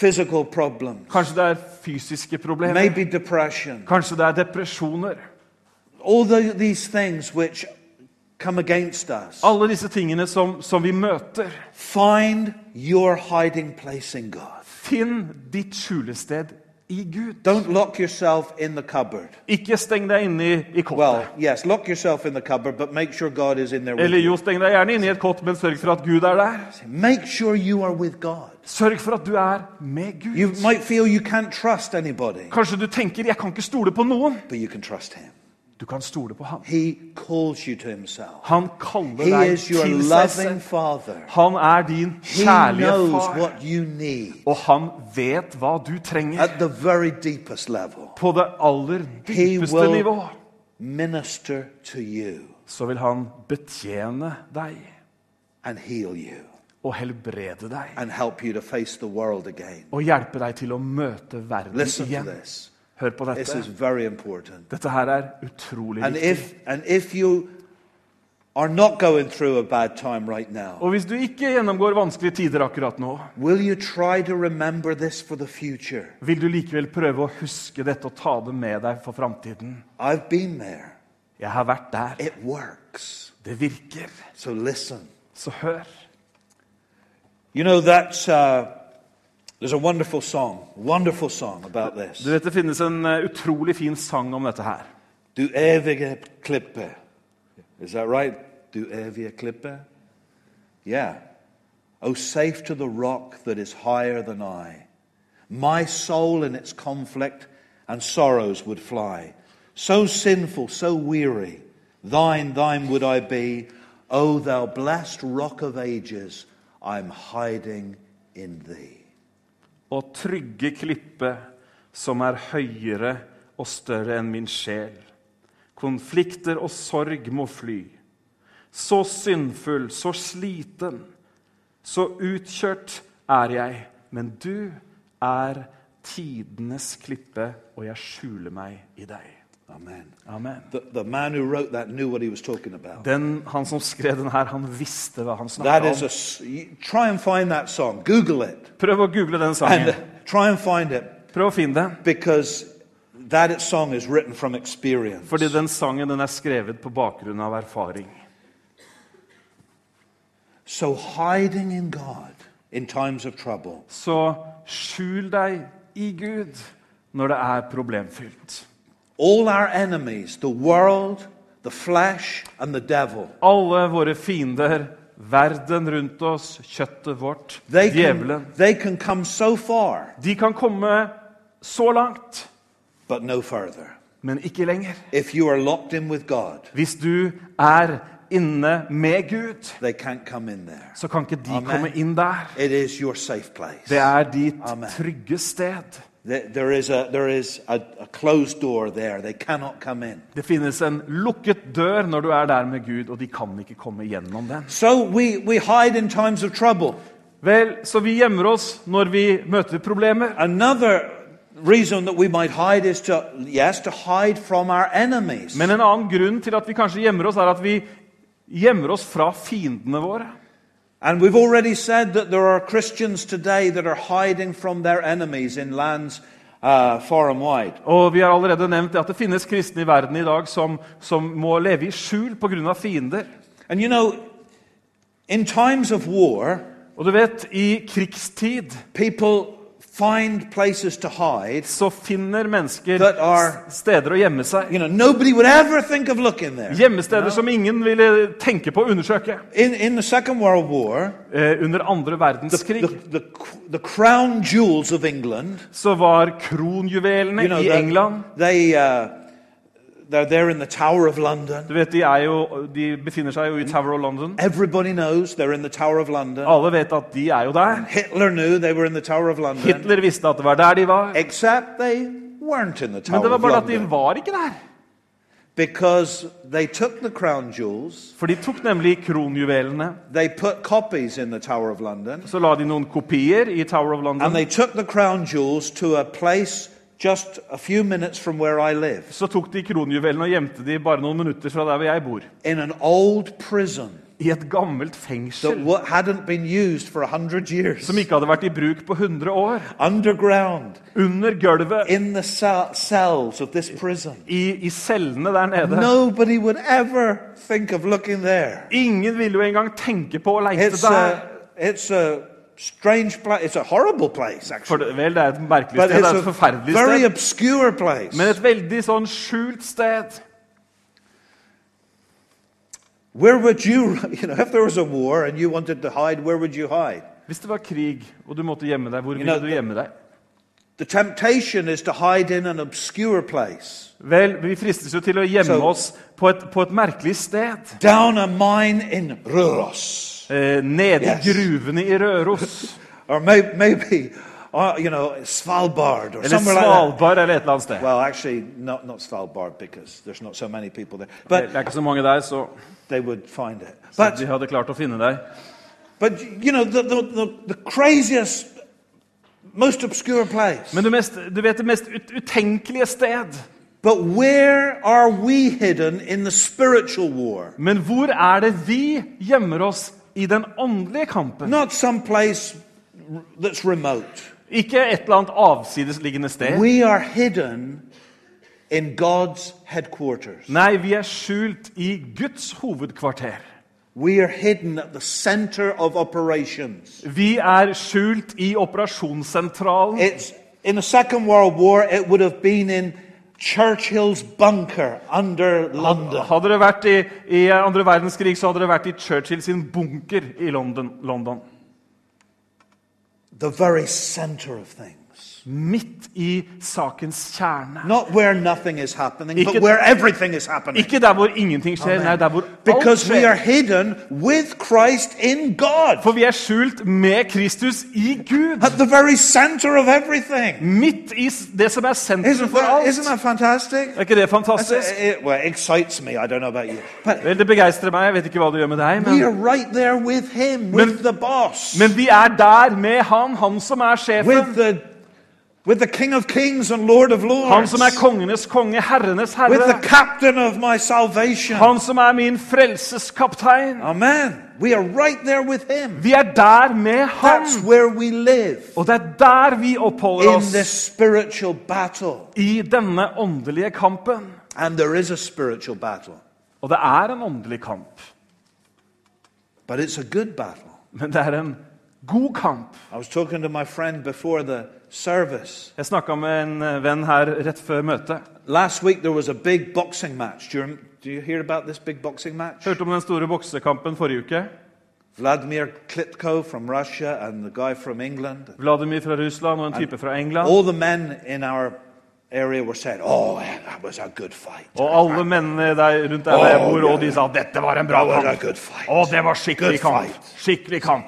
Speaker 3: physical problems,
Speaker 4: Kanskje det er fysiske problemer.
Speaker 3: maybe depression,
Speaker 4: Kanskje det er depresjoner.
Speaker 3: all tho- these things which come against us,
Speaker 4: Alle disse tingene som, som vi møter.
Speaker 3: find your hiding place in God.
Speaker 4: Finn ditt skjulested i Gud.
Speaker 3: Don't lock yourself in the cupboard.
Speaker 4: Ikke steng deg inne i, i
Speaker 3: Well,
Speaker 4: kottet.
Speaker 3: yes, lock yourself in the cupboard, but make sure God is in there with
Speaker 4: Eller
Speaker 3: you.
Speaker 4: jo, steng deg gjerne inne i et kott, men sørg for at Gud er der.
Speaker 3: Make sure you are with God.
Speaker 4: Sørg for at du er med
Speaker 3: You
Speaker 4: Gud.
Speaker 3: might feel you can't trust anybody,
Speaker 4: Kanskje du tenker 'jeg kan ikke stole på noen'.
Speaker 3: but you can trust Him.
Speaker 4: Du kan stole på ham.
Speaker 3: He calls you to Himself.
Speaker 4: Han kaller
Speaker 3: He
Speaker 4: deg
Speaker 3: is your
Speaker 4: til seg
Speaker 3: loving
Speaker 4: selv.
Speaker 3: Father.
Speaker 4: Han er din
Speaker 3: He
Speaker 4: kjærlige
Speaker 3: knows
Speaker 4: far.
Speaker 3: what you need
Speaker 4: Og han vet hva du trenger
Speaker 3: at the very deepest level.
Speaker 4: på det aller
Speaker 3: He
Speaker 4: dypeste nivå.
Speaker 3: will minister to you
Speaker 4: Så vil han betjene deg
Speaker 3: and heal you
Speaker 4: og helbrede deg.
Speaker 3: and help you to face the world again.
Speaker 4: Og hjelpe deg til å møte verden
Speaker 3: Listen to
Speaker 4: igjen.
Speaker 3: this.
Speaker 4: Hør på
Speaker 3: This is
Speaker 4: dette.
Speaker 3: very important.
Speaker 4: Dette her er utrolig
Speaker 3: And
Speaker 4: viktig.
Speaker 3: if, and if you are not going through a bad time right now,
Speaker 4: Og hvis du ikke gjennomgår vanskelige tider akkurat nå,
Speaker 3: will you try to remember this for the future?
Speaker 4: vil du likevel prøve å huske dette og ta det med deg for framtiden.
Speaker 3: I've been there.
Speaker 4: Jeg har vært der.
Speaker 3: It works.
Speaker 4: Det virker.
Speaker 3: So listen.
Speaker 4: Så hør.
Speaker 3: You know, that's, uh, there's a wonderful song, wonderful song about this.
Speaker 4: Du vet Det finnes en eh, utrolig fin sang om dette her.
Speaker 3: Du eviga klippe. Is that right? Du eviga klippe? Yeah. Oh, safe to the rock that is higher than I. My soul in its conflict and sorrows would fly. So sinful, so weary, thine, thine would I be. O thou blessed rock of ages, I'm hiding in thee.
Speaker 4: Og trygge klippe som er høyere og større enn min sjel. Konflikter og sorg må fly. Så syndfull, så sliten, så utkjørt er jeg. Men du er tidenes klippe, og jeg skjuler meg i deg.
Speaker 3: Amen.
Speaker 4: Amen.
Speaker 3: The, the man who wrote that knew what he was talking about.
Speaker 4: Den, han som skrev den her, han visste hva han
Speaker 3: That
Speaker 4: snakka
Speaker 3: is a.
Speaker 4: om.
Speaker 3: s- you- Try and find that song. Google it.
Speaker 4: Prøv å google den
Speaker 3: And
Speaker 4: sangen.
Speaker 3: try and find it
Speaker 4: Prøv å finne den.
Speaker 3: because that song is written from experience.
Speaker 4: Fordi den sangen den er skrevet på bakgrunn av erfaring.
Speaker 3: So hiding in God in times of trouble,
Speaker 4: Så skjul deg i Gud når det er problemfylt.
Speaker 3: all our enemies, the world, the flesh, and the devil,
Speaker 4: Alle våre fiender, verden rundt oss, kjøttet vårt,
Speaker 3: they
Speaker 4: djevelen
Speaker 3: can, they can come so far,
Speaker 4: De kan komme så langt,
Speaker 3: but no further.
Speaker 4: men ikke lenger.
Speaker 3: If you are locked in with God,
Speaker 4: Hvis du er inne med Gud,
Speaker 3: they can't come in there.
Speaker 4: så kan ikke de
Speaker 3: Amen.
Speaker 4: komme inn der.
Speaker 3: It is your safe place.
Speaker 4: Det er ditt
Speaker 3: Amen.
Speaker 4: trygge sted.
Speaker 3: There- There is, a, there is a, a closed door there. They cannot come in.
Speaker 4: Det finnes en lukket dør når du er der med Gud, og de kan ikke komme gjennom den.
Speaker 3: So we, we hide in times of trouble.
Speaker 4: Vel, så vi gjemmer oss når vi møter problemer.
Speaker 3: Another reason that we might hide is to, yes, to hide from our enemies.
Speaker 4: Men en annen grunn til at vi kanskje gjemmer oss, er at vi gjemmer oss fra fiendene våre.
Speaker 3: And we've already said that there are Christians today that are hiding from their enemies in lands uh, far and wide.
Speaker 4: Og vi har allerede nevnt det at det finnes kristne i verden i dag som, som må leve i skjul pga. fiender.
Speaker 3: And you know, in times of war,
Speaker 4: Og du vet, i krigstid
Speaker 3: people find places to hide.
Speaker 4: så finner mennesker
Speaker 3: That are-
Speaker 4: s- steder å gjemme seg.
Speaker 3: You know, nobody would ever think of looking there.
Speaker 4: Gjemmesteder som ingen ville tenke på å undersøke.
Speaker 3: In, in the Second World War,
Speaker 4: Eh, under andre
Speaker 3: the,
Speaker 4: verdenskrig
Speaker 3: the, the, the crown jewels of England,
Speaker 4: så var kronjuvelene
Speaker 3: you know,
Speaker 4: i
Speaker 3: the-
Speaker 4: England
Speaker 3: they, uh, they're there in the Tower of London.
Speaker 4: Du vet, de, er jo, de befinner seg jo i Tower of London.
Speaker 3: Everybody knows they're in the Tower of London.
Speaker 4: Alle vet at de er jo der.
Speaker 3: Hitler knew they were in the Tower of London.
Speaker 4: Hitler visste at det var der de var.
Speaker 3: Except they weren't in the
Speaker 4: Men
Speaker 3: Tower
Speaker 4: det var
Speaker 3: of
Speaker 4: bare at de
Speaker 3: London
Speaker 4: var ikke der.
Speaker 3: because they took the crown jewels,
Speaker 4: For de tok nemlig kronjuvelene.
Speaker 3: they put copies in the Tower of London,
Speaker 4: Så la de noen kopier i Tower of
Speaker 3: and
Speaker 4: London.
Speaker 3: they took the crown jewels to a place just a few minutes from where I live
Speaker 4: Så tok de kronjuvelene og gjemte de bare noen minutter fra der hvor jeg bor.
Speaker 3: in an old prison
Speaker 4: I et gammelt
Speaker 3: that
Speaker 4: fengsel
Speaker 3: wa- hadn't been used for a hundred years.
Speaker 4: som ikke hadde vært i bruk på 100 år.
Speaker 3: Underground,
Speaker 4: Under gulvet,
Speaker 3: in the cell- cells of this prison.
Speaker 4: i, i cellene der nede.
Speaker 3: Nobody would ever think of looking there.
Speaker 4: Ingen ville jo engang tenke på å leite
Speaker 3: It's uh,
Speaker 4: der.
Speaker 3: a, it's a strange place. It's a horrible place, actually.
Speaker 4: For det, vel, det er et merkelig
Speaker 3: But
Speaker 4: sted. Det er
Speaker 3: it's
Speaker 4: et
Speaker 3: a
Speaker 4: forferdelig
Speaker 3: very
Speaker 4: sted.
Speaker 3: obscure place.
Speaker 4: Men et veldig sånn skjult sted.
Speaker 3: Where would you, you know, if there was a war and you wanted to hide, where would you hide?
Speaker 4: Hvis det var krig, og du måtte gjemme deg, hvor
Speaker 3: know,
Speaker 4: ville du
Speaker 3: the-
Speaker 4: gjemme deg?
Speaker 3: The temptation is to hide in an obscure place,
Speaker 4: Vel, vi fristes jo til å gjemme
Speaker 3: So-
Speaker 4: oss på et, på et merkelig sted.
Speaker 3: down a mine in Røros,
Speaker 4: Eh, nede
Speaker 3: Yes.
Speaker 4: i gruvene i Røros.
Speaker 3: or maybe, maybe uh, you know, Svalbard or
Speaker 4: Eller
Speaker 3: somewhere like that.
Speaker 4: Svalbard eller et eller annet sted.
Speaker 3: Well, actually, not, not Svalbard because there's not so many people there,
Speaker 4: Det
Speaker 3: but
Speaker 4: er ikke så mange der, så
Speaker 3: they would find it.
Speaker 4: så
Speaker 3: But
Speaker 4: de hadde klart å finne deg.
Speaker 3: But you know, the, the, the, the craziest, most obscure place.
Speaker 4: Men du, mest, du vet det mest ut, utenkelige sted.
Speaker 3: But where are we hidden in the spiritual war?
Speaker 4: Men hvor er det vi gjemmer oss i den åndelige kampen?
Speaker 3: Not some place r- that's remote.
Speaker 4: Ikke et eller annet avsidesliggende sted.
Speaker 3: We are hidden in God's headquarters.
Speaker 4: Nei, vi er skjult i Guds hovedkvarter.
Speaker 3: We are hidden at the center of operations.
Speaker 4: Vi er skjult i operasjonssentralen.
Speaker 3: It's in the Second World War, it would have been in Churchill's bunker under London.
Speaker 4: Hadde det vært i, i andre verdenskrig, så hadde det vært i Churchill sin bunker i London. London.
Speaker 3: The very center of things.
Speaker 4: Midt i sakens kjerne.
Speaker 3: Not where nothing is happening, but
Speaker 4: Ikke-
Speaker 3: where everything is happening.
Speaker 4: Ikke der hvor ingenting skjer, nei, der hvor alt
Speaker 3: Because we are
Speaker 4: skjer.
Speaker 3: hidden with Christ in God.
Speaker 4: For vi er skjult med Kristus i Gud.
Speaker 3: At the very center of everything.
Speaker 4: Midt i s- det som er sentrum
Speaker 3: Isn't
Speaker 4: for
Speaker 3: that,
Speaker 4: alt.
Speaker 3: isn't Altså, that fantastic?
Speaker 4: Er ikke det
Speaker 3: That's-
Speaker 4: fantastisk?
Speaker 3: it, well, it excites me. I don't know about you. But
Speaker 4: Vel, det begeistrer meg. Jeg vet ikke hva det gjør med deg,
Speaker 3: eh, we
Speaker 4: men
Speaker 3: are right there with Him,
Speaker 4: Men-
Speaker 3: with the boss,
Speaker 4: Men vi er der med han, han som er sjefen.
Speaker 3: with the, with the King of Kings and Lord of
Speaker 4: Han
Speaker 3: Lords,
Speaker 4: som er kongenes konge, herrenes
Speaker 3: with the
Speaker 4: herre.
Speaker 3: captain of my salvation.
Speaker 4: Han som er min frelseskaptein.
Speaker 3: Amen. We are right there with Him.
Speaker 4: Vi er der med han.
Speaker 3: That's where we live
Speaker 4: Og det er der vi oppholder
Speaker 3: in
Speaker 4: oss
Speaker 3: this spiritual battle.
Speaker 4: i denne åndelige kampen.
Speaker 3: And there is a spiritual battle,
Speaker 4: Og det er en åndelig kamp,
Speaker 3: but it's a good battle.
Speaker 4: men det er en god kamp.
Speaker 3: I was talking to my friend before the service.
Speaker 4: Jeg snakka med en eh, venn her rett før møtet.
Speaker 3: Last week there was a big boxing match. Do you, rem- do you hear about this big boxing match?
Speaker 4: Hørte om den store boksekampen forrige uke.
Speaker 3: Vladimir Klitko from Russia and the guy from England.
Speaker 4: Vladimir fra Russland og en type fra England.
Speaker 3: All the men in our area were saying, Oh, yeah, that was a good fight.
Speaker 4: Og alle mennene der rundt der hvor jeg bor, og de sa 'dette var en bra
Speaker 3: That was a
Speaker 4: kamp'.
Speaker 3: good fight.
Speaker 4: Å, det var skikkelig
Speaker 3: Good
Speaker 4: kamp.
Speaker 3: fight.
Speaker 4: Skikkelig kamp.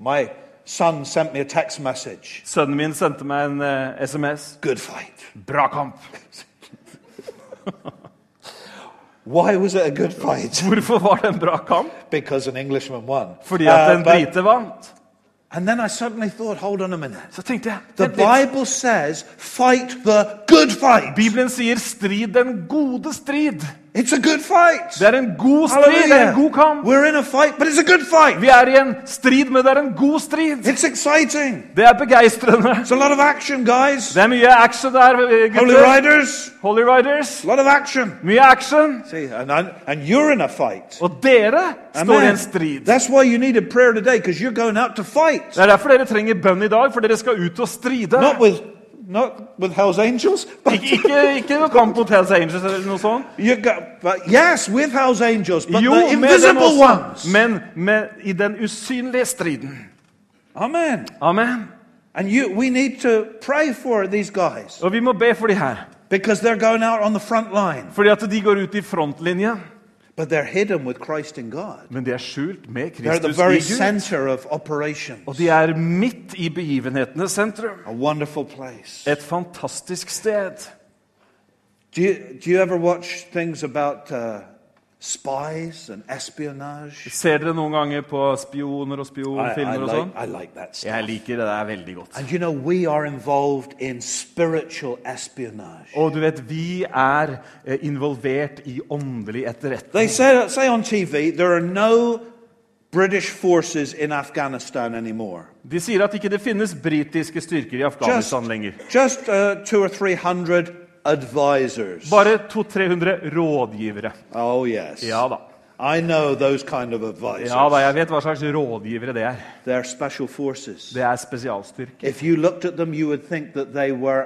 Speaker 3: My son sent me a text message.
Speaker 4: Sønnen min sendte meg en eh, SMS.
Speaker 3: Good fight.
Speaker 4: Bra kamp.
Speaker 3: Why was it a good fight?
Speaker 4: Hvorfor var det en bra kamp?
Speaker 3: Because an Englishman won.
Speaker 4: Fordi at
Speaker 3: Uh,
Speaker 4: en
Speaker 3: but-
Speaker 4: brite vant.
Speaker 3: And then I suddenly thought, hold on a minute.
Speaker 4: Så tenkte jeg
Speaker 3: The
Speaker 4: vent litt.
Speaker 3: Bible says, fight the good fight.
Speaker 4: Bibelen sier 'strid den gode strid'.
Speaker 3: It's a good fight.
Speaker 4: Det er en god strid, det er en god kamp.
Speaker 3: We're in a fight, but it's a good fight.
Speaker 4: Vi er i en strid, men det er en god strid.
Speaker 3: It's exciting.
Speaker 4: Det er begeistrende.
Speaker 3: It's a lot of action, guys.
Speaker 4: Det er mye action der,
Speaker 3: Holy
Speaker 4: gutter.
Speaker 3: Riders,
Speaker 4: Holy Riders.
Speaker 3: a lot of action.
Speaker 4: Mye action.
Speaker 3: See, and, and, and you're in a fight.
Speaker 4: Og dere står i en strid.
Speaker 3: That's why you needed prayer today, because you're going out to fight.
Speaker 4: Det er derfor dere trenger bønn i dag, for dere skal ut og stride.
Speaker 3: Not with not with Hell's Angels, but,
Speaker 4: Ikke, ikke, ikke noe kamp mot Hells Angels eller noe sånt.
Speaker 3: you go, but yes, with Hell's Angels, but
Speaker 4: Jo,
Speaker 3: the
Speaker 4: med dem
Speaker 3: invisible
Speaker 4: også,
Speaker 3: ones.
Speaker 4: men med, i den usynlige striden.
Speaker 3: Amen.
Speaker 4: Amen.
Speaker 3: And you, we need to pray for these guys
Speaker 4: Og vi må be for de her,
Speaker 3: because they're going out on the front line,
Speaker 4: fordi at de går ut i frontlinjen.
Speaker 3: but they're hidden with Christ in God.
Speaker 4: Men de er skjult med
Speaker 3: They're at the
Speaker 4: Kristus
Speaker 3: very
Speaker 4: i Gud.
Speaker 3: center of operations.
Speaker 4: Og de er midt i begivenhetenes sentrum.
Speaker 3: A wonderful place.
Speaker 4: Et fantastisk sted.
Speaker 3: Do you, do you ever watch things about uh, spies and espionage?
Speaker 4: Ser dere noen ganger på spioner og spionfilmer og
Speaker 3: like,
Speaker 4: sånn?
Speaker 3: I like that stuff.
Speaker 4: Jeg liker det der veldig godt.
Speaker 3: And you know, we are involved in spiritual espionage.
Speaker 4: Og du vet, vi er eh, involvert i åndelig
Speaker 3: They
Speaker 4: etterretning.
Speaker 3: say, say on TV there are no British forces in Afghanistan anymore.
Speaker 4: De sier at ikke det finnes britiske styrker i
Speaker 3: Just,
Speaker 4: Afghanistan lenger.
Speaker 3: just uh, two or three hundred advisors.
Speaker 4: Bare 200-300 rådgivere.
Speaker 3: oh, yes.
Speaker 4: Ja da.
Speaker 3: I know those kind of advisors.
Speaker 4: Ja da, jeg vet hva slags rådgivere det er.
Speaker 3: They're special forces.
Speaker 4: Det er spesialstyrker.
Speaker 3: If you looked at them, you would think that they were,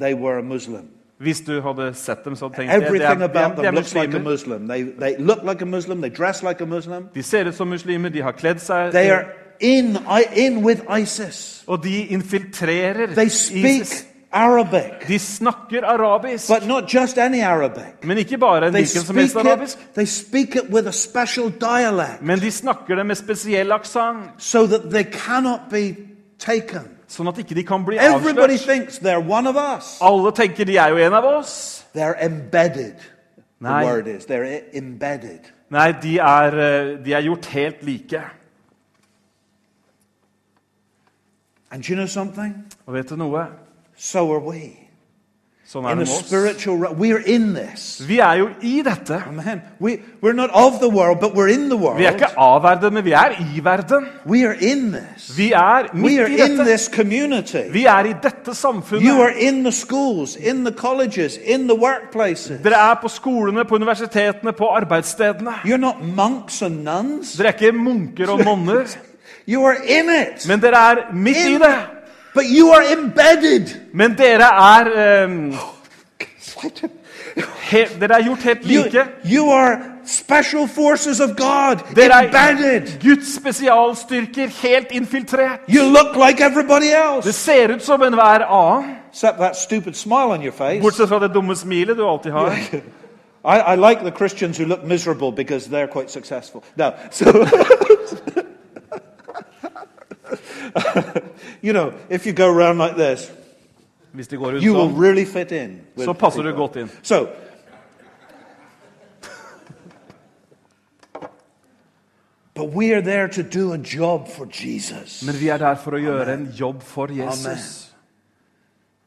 Speaker 3: they were a Muslim.
Speaker 4: Hvis du hadde sett dem, så hadde du tenkt de er,
Speaker 3: Everything
Speaker 4: de er,
Speaker 3: about
Speaker 4: de
Speaker 3: them
Speaker 4: er
Speaker 3: looks like a
Speaker 4: muslimer.
Speaker 3: Muslim. They, they look like a Muslim, they dress like a Muslim.
Speaker 4: De ser ut som muslimer, de har kledd seg
Speaker 3: They are in, I- in with ISIS.
Speaker 4: Og de infiltrerer
Speaker 3: They speak
Speaker 4: ISIS.
Speaker 3: Arabic,
Speaker 4: De snakker arabisk,
Speaker 3: but not just any Arabic.
Speaker 4: men ikke bare en
Speaker 3: They
Speaker 4: hvilken som helst
Speaker 3: speak,
Speaker 4: arabisk.
Speaker 3: it, they speak it with a special dialect
Speaker 4: Men de snakker det med spesiell aksent,
Speaker 3: so that they cannot be taken.
Speaker 4: sånn at ikke de kan bli
Speaker 3: Everybody
Speaker 4: avslørt.
Speaker 3: thinks they're one of us.
Speaker 4: Alle tenker de er jo en av oss.
Speaker 3: They're embedded.
Speaker 4: Nei.
Speaker 3: The word is they're e- embedded.
Speaker 4: Nei, de er, eh, de er gjort helt like.
Speaker 3: And do you know something?
Speaker 4: Og vet du noe?
Speaker 3: So are we. In
Speaker 4: Sånn er
Speaker 3: a
Speaker 4: det med oss.
Speaker 3: spiritual realm. We're in this.
Speaker 4: Vi er jo i dette.
Speaker 3: Amen. We, we're not of the world, but we're in the world.
Speaker 4: Vi er ikke av verden, men vi er i verden.
Speaker 3: We are in this.
Speaker 4: Vi er
Speaker 3: We are
Speaker 4: midt i
Speaker 3: in
Speaker 4: dette.
Speaker 3: this community.
Speaker 4: Vi er i dette
Speaker 3: You are
Speaker 4: samfunnet.
Speaker 3: in the schools, in the colleges, in the workplaces.
Speaker 4: Dere er på skolene, på universitetene, på arbeidsstedene.
Speaker 3: You're not monks and nuns.
Speaker 4: Dere er ikke munker og monner,
Speaker 3: You are in it.
Speaker 4: men dere er midt i
Speaker 3: In-
Speaker 4: det.
Speaker 3: but you are embedded.
Speaker 4: Men dere er ehm,
Speaker 3: Oh,
Speaker 4: he, Dere er gjort helt
Speaker 3: You,
Speaker 4: like.
Speaker 3: you are special forces of God.
Speaker 4: Dere er
Speaker 3: embedded.
Speaker 4: Guds spesialstyrker, helt infiltrert.
Speaker 3: You look like everybody
Speaker 4: Det
Speaker 3: else.
Speaker 4: ser ut som enhver annen,
Speaker 3: Except that stupid smile on your face.
Speaker 4: bortsett fra det dumme smilet du alltid har.
Speaker 3: I, I like the Christians who look miserable because they're quite successful. No, so. you know, if you go around like this,
Speaker 4: Hvis det går ut
Speaker 3: you will
Speaker 4: sånn,
Speaker 3: really fit in. with
Speaker 4: så passer du
Speaker 3: people.
Speaker 4: godt inn.
Speaker 3: So, but we are there to do a job for Jesus,
Speaker 4: Men vi er der for å gjøre en jobb for Jesus.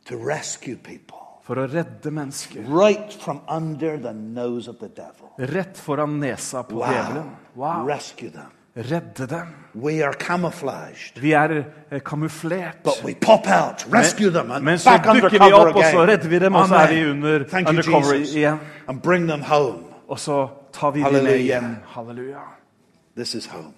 Speaker 3: to rescue people
Speaker 4: For å redde mennesker.
Speaker 3: right from under the nose of the devil.
Speaker 4: Rett foran nesa på djevelen. Wow.
Speaker 3: Rescue them.
Speaker 4: Redde dem.
Speaker 3: We are camouflaged,
Speaker 4: Vi er eh, kamuflert.
Speaker 3: but we pop out, rescue them, and
Speaker 4: Men så
Speaker 3: back
Speaker 4: dukker vi
Speaker 3: undercover
Speaker 4: opp, og så
Speaker 3: again.
Speaker 4: redder vi dem, og så er vi under
Speaker 3: Amen. Thank you,
Speaker 4: undercover
Speaker 3: Jesus.
Speaker 4: igjen.
Speaker 3: And bring them home.
Speaker 4: Og så tar vi dem med
Speaker 3: Halleluja.
Speaker 4: hjem. Halleluja.
Speaker 3: This is home.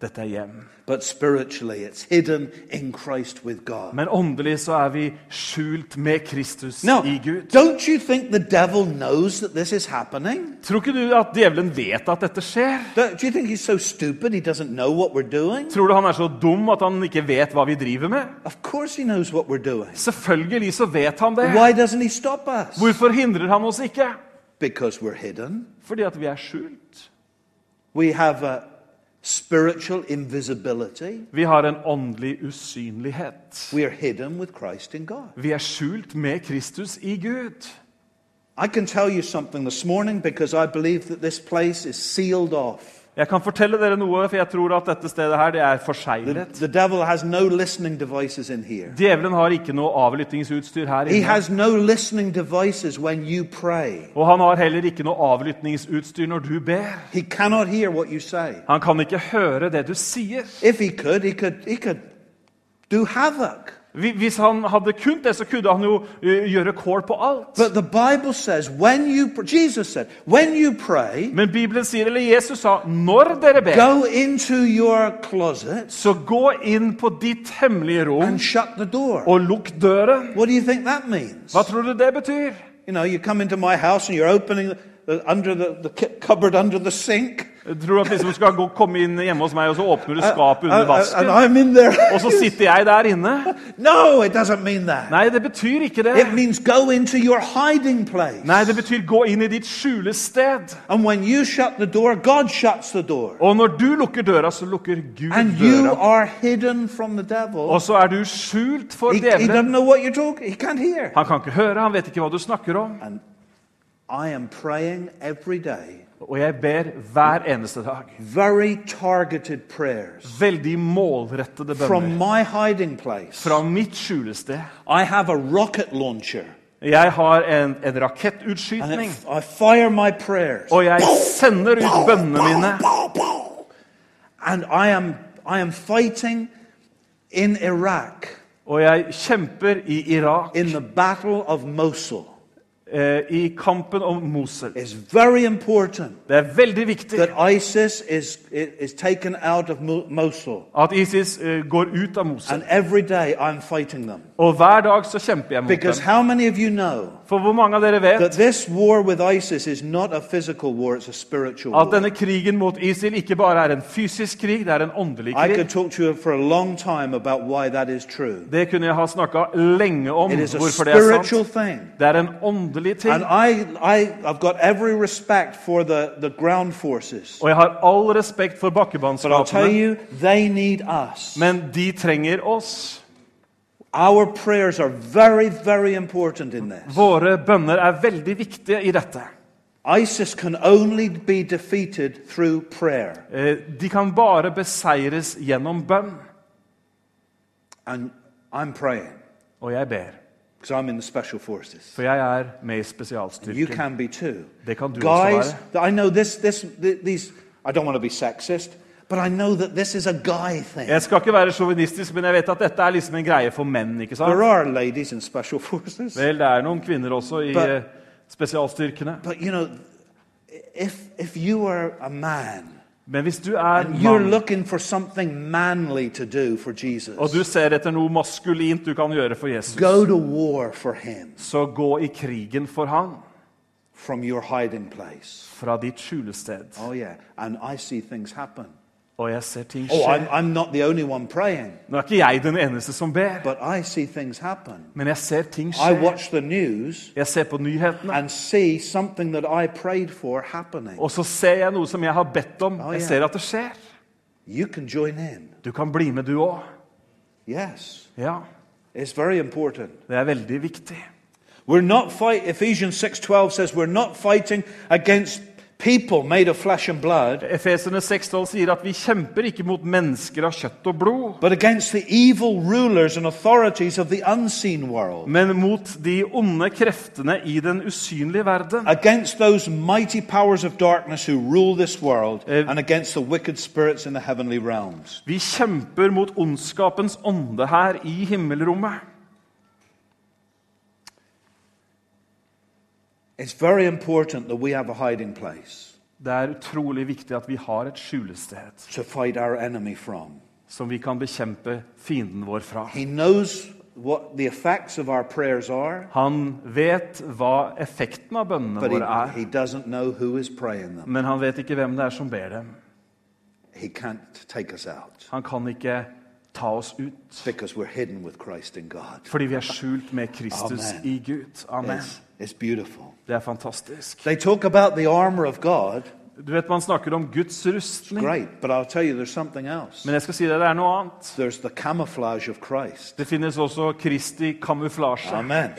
Speaker 4: Dette er hjem.
Speaker 3: But spiritually, it's hidden in Christ with God.
Speaker 4: Men åndelig så er vi skjult med Kristus
Speaker 3: Now,
Speaker 4: i Gud.
Speaker 3: don't you think the devil knows that this is happening?
Speaker 4: Tror ikke du at djevelen vet at dette skjer?
Speaker 3: Do do you think he's so stupid he doesn't know what we're doing?
Speaker 4: Tror du han er så dum at han ikke vet hva vi driver med?
Speaker 3: Of course he knows what we're doing.
Speaker 4: Selvfølgelig så vet han det.
Speaker 3: Why doesn't he stop us?
Speaker 4: Hvorfor hindrer han oss ikke?
Speaker 3: Because we're hidden.
Speaker 4: Fordi at vi er skjult.
Speaker 3: We have a spiritual invisibility.
Speaker 4: Vi har en åndelig usynlighet.
Speaker 3: We are hidden with Christ in God.
Speaker 4: Vi er skjult med Kristus i Gud.
Speaker 3: I can tell you something this morning because I believe that this place is sealed off.
Speaker 4: Jeg kan fortelle dere noe, for jeg tror at dette stedet her det er
Speaker 3: The,
Speaker 4: forseglet.
Speaker 3: the devil has no listening devices in here.
Speaker 4: Djevelen har ikke noe avlyttingsutstyr her
Speaker 3: He
Speaker 4: inne.
Speaker 3: has no listening devices when you pray.
Speaker 4: Og han har heller ikke noe avlyttingsutstyr når du ber.
Speaker 3: He cannot hear what you say.
Speaker 4: Han kan ikke høre det du sier.
Speaker 3: If he could, he could, he could do havoc.
Speaker 4: Hvi- Hvis han hadde kunnet det, så kunne han jo eh, gjøre kål på alt.
Speaker 3: But the Bible says, when you, pr- Jesus said, when you pray,
Speaker 4: Men Bibelen sier, eller Jesus sa, når dere ber,
Speaker 3: go into your closet
Speaker 4: så gå inn på ditt hemmelige rom
Speaker 3: and shut the door.
Speaker 4: og lukk døren.
Speaker 3: What do you think that means?
Speaker 4: Hva tror du det betyr?
Speaker 3: You know, you come into my house and you're opening the, the, under the, the ki- cupboard under the sink.
Speaker 4: Jeg tror at liksom skal gå, komme inn hjemme hos meg, og så åpner du skapet under
Speaker 3: Uh, uh, and
Speaker 4: vasken,
Speaker 3: I'm in there.
Speaker 4: og så sitter jeg der inne?
Speaker 3: no, it doesn't mean that.
Speaker 4: Nei, det betyr ikke det.
Speaker 3: It means go into your hiding place.
Speaker 4: Nei, det betyr gå inn i ditt skjulested.
Speaker 3: And when you shut the door, God shuts the door.
Speaker 4: Og når du lukker døra, så lukker Gud
Speaker 3: And you
Speaker 4: døra.
Speaker 3: are hidden from the
Speaker 4: Og
Speaker 3: devil.
Speaker 4: så er du skjult for
Speaker 3: He, he doesn't
Speaker 4: djevelen.
Speaker 3: know what you're talking. He can't hear.
Speaker 4: Han kan ikke høre, han vet ikke hva du snakker om.
Speaker 3: And I am praying every day,
Speaker 4: Og jeg ber hver eneste dag.
Speaker 3: very targeted prayers
Speaker 4: Veldig målrettede
Speaker 3: from
Speaker 4: bønner.
Speaker 3: my hiding place.
Speaker 4: Fra mitt skjulested.
Speaker 3: I have a rocket launcher,
Speaker 4: Jeg har en, en
Speaker 3: and
Speaker 4: rakettutskytning,
Speaker 3: it, I fire my prayers,
Speaker 4: og jeg sender ut bønnene mine.
Speaker 3: and I am I am fighting in Iraq
Speaker 4: Og jeg kjemper i Irak,
Speaker 3: in the Battle of Mosul.
Speaker 4: eh, i kampen om Mosul.
Speaker 3: It's very important
Speaker 4: Det er veldig viktig
Speaker 3: that ISIS is, is taken out of Mo- Mosul.
Speaker 4: at ISIS eh, går ut av Mosul.
Speaker 3: And every day I'm fighting them.
Speaker 4: Og hver dag så kjemper jeg mot
Speaker 3: Because
Speaker 4: dem.
Speaker 3: how many of you know
Speaker 4: For hvor mange av dere
Speaker 3: that
Speaker 4: vet
Speaker 3: this war with ISIS is not a physical war, it's a spiritual
Speaker 4: at
Speaker 3: war?
Speaker 4: denne krigen mot ISIL ikke bare er en fysisk krig, det er en åndelig
Speaker 3: I could
Speaker 4: krig?
Speaker 3: talk to you for a long time about why that is true.
Speaker 4: Det kunne jeg ha snakka lenge om,
Speaker 3: It is a
Speaker 4: hvorfor det er
Speaker 3: spiritual
Speaker 4: sant.
Speaker 3: thing.
Speaker 4: Det er en åndelig ting.
Speaker 3: And I, I, I've got every respect for the, the ground forces.
Speaker 4: Og jeg har all respekt for
Speaker 3: But I'll tell
Speaker 4: bakkebannskapene,
Speaker 3: you, they need us.
Speaker 4: men de trenger oss.
Speaker 3: Our prayers are very, very important in this.
Speaker 4: Våre bønner er veldig viktige i dette.
Speaker 3: ISIS can only be defeated through prayer.
Speaker 4: Eh, De kan bare beseires gjennom bønn.
Speaker 3: And I'm praying
Speaker 4: Og jeg ber,
Speaker 3: because I'm in the special forces.
Speaker 4: for jeg er med i
Speaker 3: You
Speaker 4: spesialstyrken.
Speaker 3: can be too.
Speaker 4: They can't do
Speaker 3: Guys,
Speaker 4: us to
Speaker 3: I know this, this, th- these, I don't want to be sexist, but I know that this is a guy thing.
Speaker 4: Jeg skal ikke være sjåvinistisk, men jeg vet at dette er liksom en greie for menn. ikke
Speaker 3: There
Speaker 4: sant?
Speaker 3: are ladies in special forces.
Speaker 4: Vel, det er noen kvinner også i
Speaker 3: But-
Speaker 4: eh, spesialstyrkene.
Speaker 3: But you know, if, if you are a man,
Speaker 4: Men hvis du er
Speaker 3: you're
Speaker 4: mann,
Speaker 3: looking for something manly to do for Jesus.
Speaker 4: og du ser etter noe maskulint du kan gjøre for Jesus,
Speaker 3: Go to war for him
Speaker 4: så gå i krigen for han
Speaker 3: from your hiding place.
Speaker 4: fra ditt skjulested.
Speaker 3: Oh, yeah. And I see things happen.
Speaker 4: Og jeg ser ting
Speaker 3: Oh, I'm,
Speaker 4: skje.
Speaker 3: I'm not the only one praying,
Speaker 4: Nå er ikke jeg den eneste som ber,
Speaker 3: but I see things happen.
Speaker 4: men jeg ser ting
Speaker 3: I
Speaker 4: skje.
Speaker 3: watch the news
Speaker 4: Jeg ser på nyhetene,
Speaker 3: and see something that I prayed for happening.
Speaker 4: og så ser jeg noe som jeg har bedt om.
Speaker 3: Oh,
Speaker 4: Jeg
Speaker 3: yeah.
Speaker 4: ser at det skjer.
Speaker 3: You can join in.
Speaker 4: Du kan bli med, du òg.
Speaker 3: Yes,
Speaker 4: Ja,
Speaker 3: it's very important.
Speaker 4: det er veldig viktig.
Speaker 3: We're not fight Ephesians 6:12 says we're not fighting against people made of flesh and blood,
Speaker 4: Efeserne 6,12 sier at vi kjemper ikke mot mennesker av kjøtt og blod,
Speaker 3: but against the evil rulers and authorities of the unseen world,
Speaker 4: men mot de onde kreftene i den usynlige verden.
Speaker 3: against those mighty powers of darkness who rule this world,
Speaker 4: Eh.
Speaker 3: and against the wicked spirits in the heavenly realms.
Speaker 4: Vi kjemper mot ondskapens ånde her i himmelrommet.
Speaker 3: It's very important that we have a hiding place
Speaker 4: Det er utrolig viktig at vi har et skjulested
Speaker 3: to fight our enemy from.
Speaker 4: som vi kan bekjempe fienden vår fra.
Speaker 3: He knows what the effects of our prayers are,
Speaker 4: Han vet hva effekten av bønnene
Speaker 3: but
Speaker 4: våre
Speaker 3: he,
Speaker 4: er,
Speaker 3: he doesn't know who is praying them.
Speaker 4: men han vet ikke hvem det er som ber dem.
Speaker 3: He can't take us out
Speaker 4: Han kan ikke ta oss ut,
Speaker 3: because we're hidden with Christ in God.
Speaker 4: fordi vi er skjult med Kristus
Speaker 3: Amen.
Speaker 4: i Gud. Amen.
Speaker 3: It's, it's beautiful.
Speaker 4: Det er fantastisk.
Speaker 3: They talk about the armor of God.
Speaker 4: Du vet, Man snakker om Guds rustning,
Speaker 3: Great, but I'll tell you there's something else.
Speaker 4: men jeg skal si deg det er noe annet.
Speaker 3: There's the camouflage of Christ.
Speaker 4: Det finnes også Kristi kamuflasje.
Speaker 3: Amen.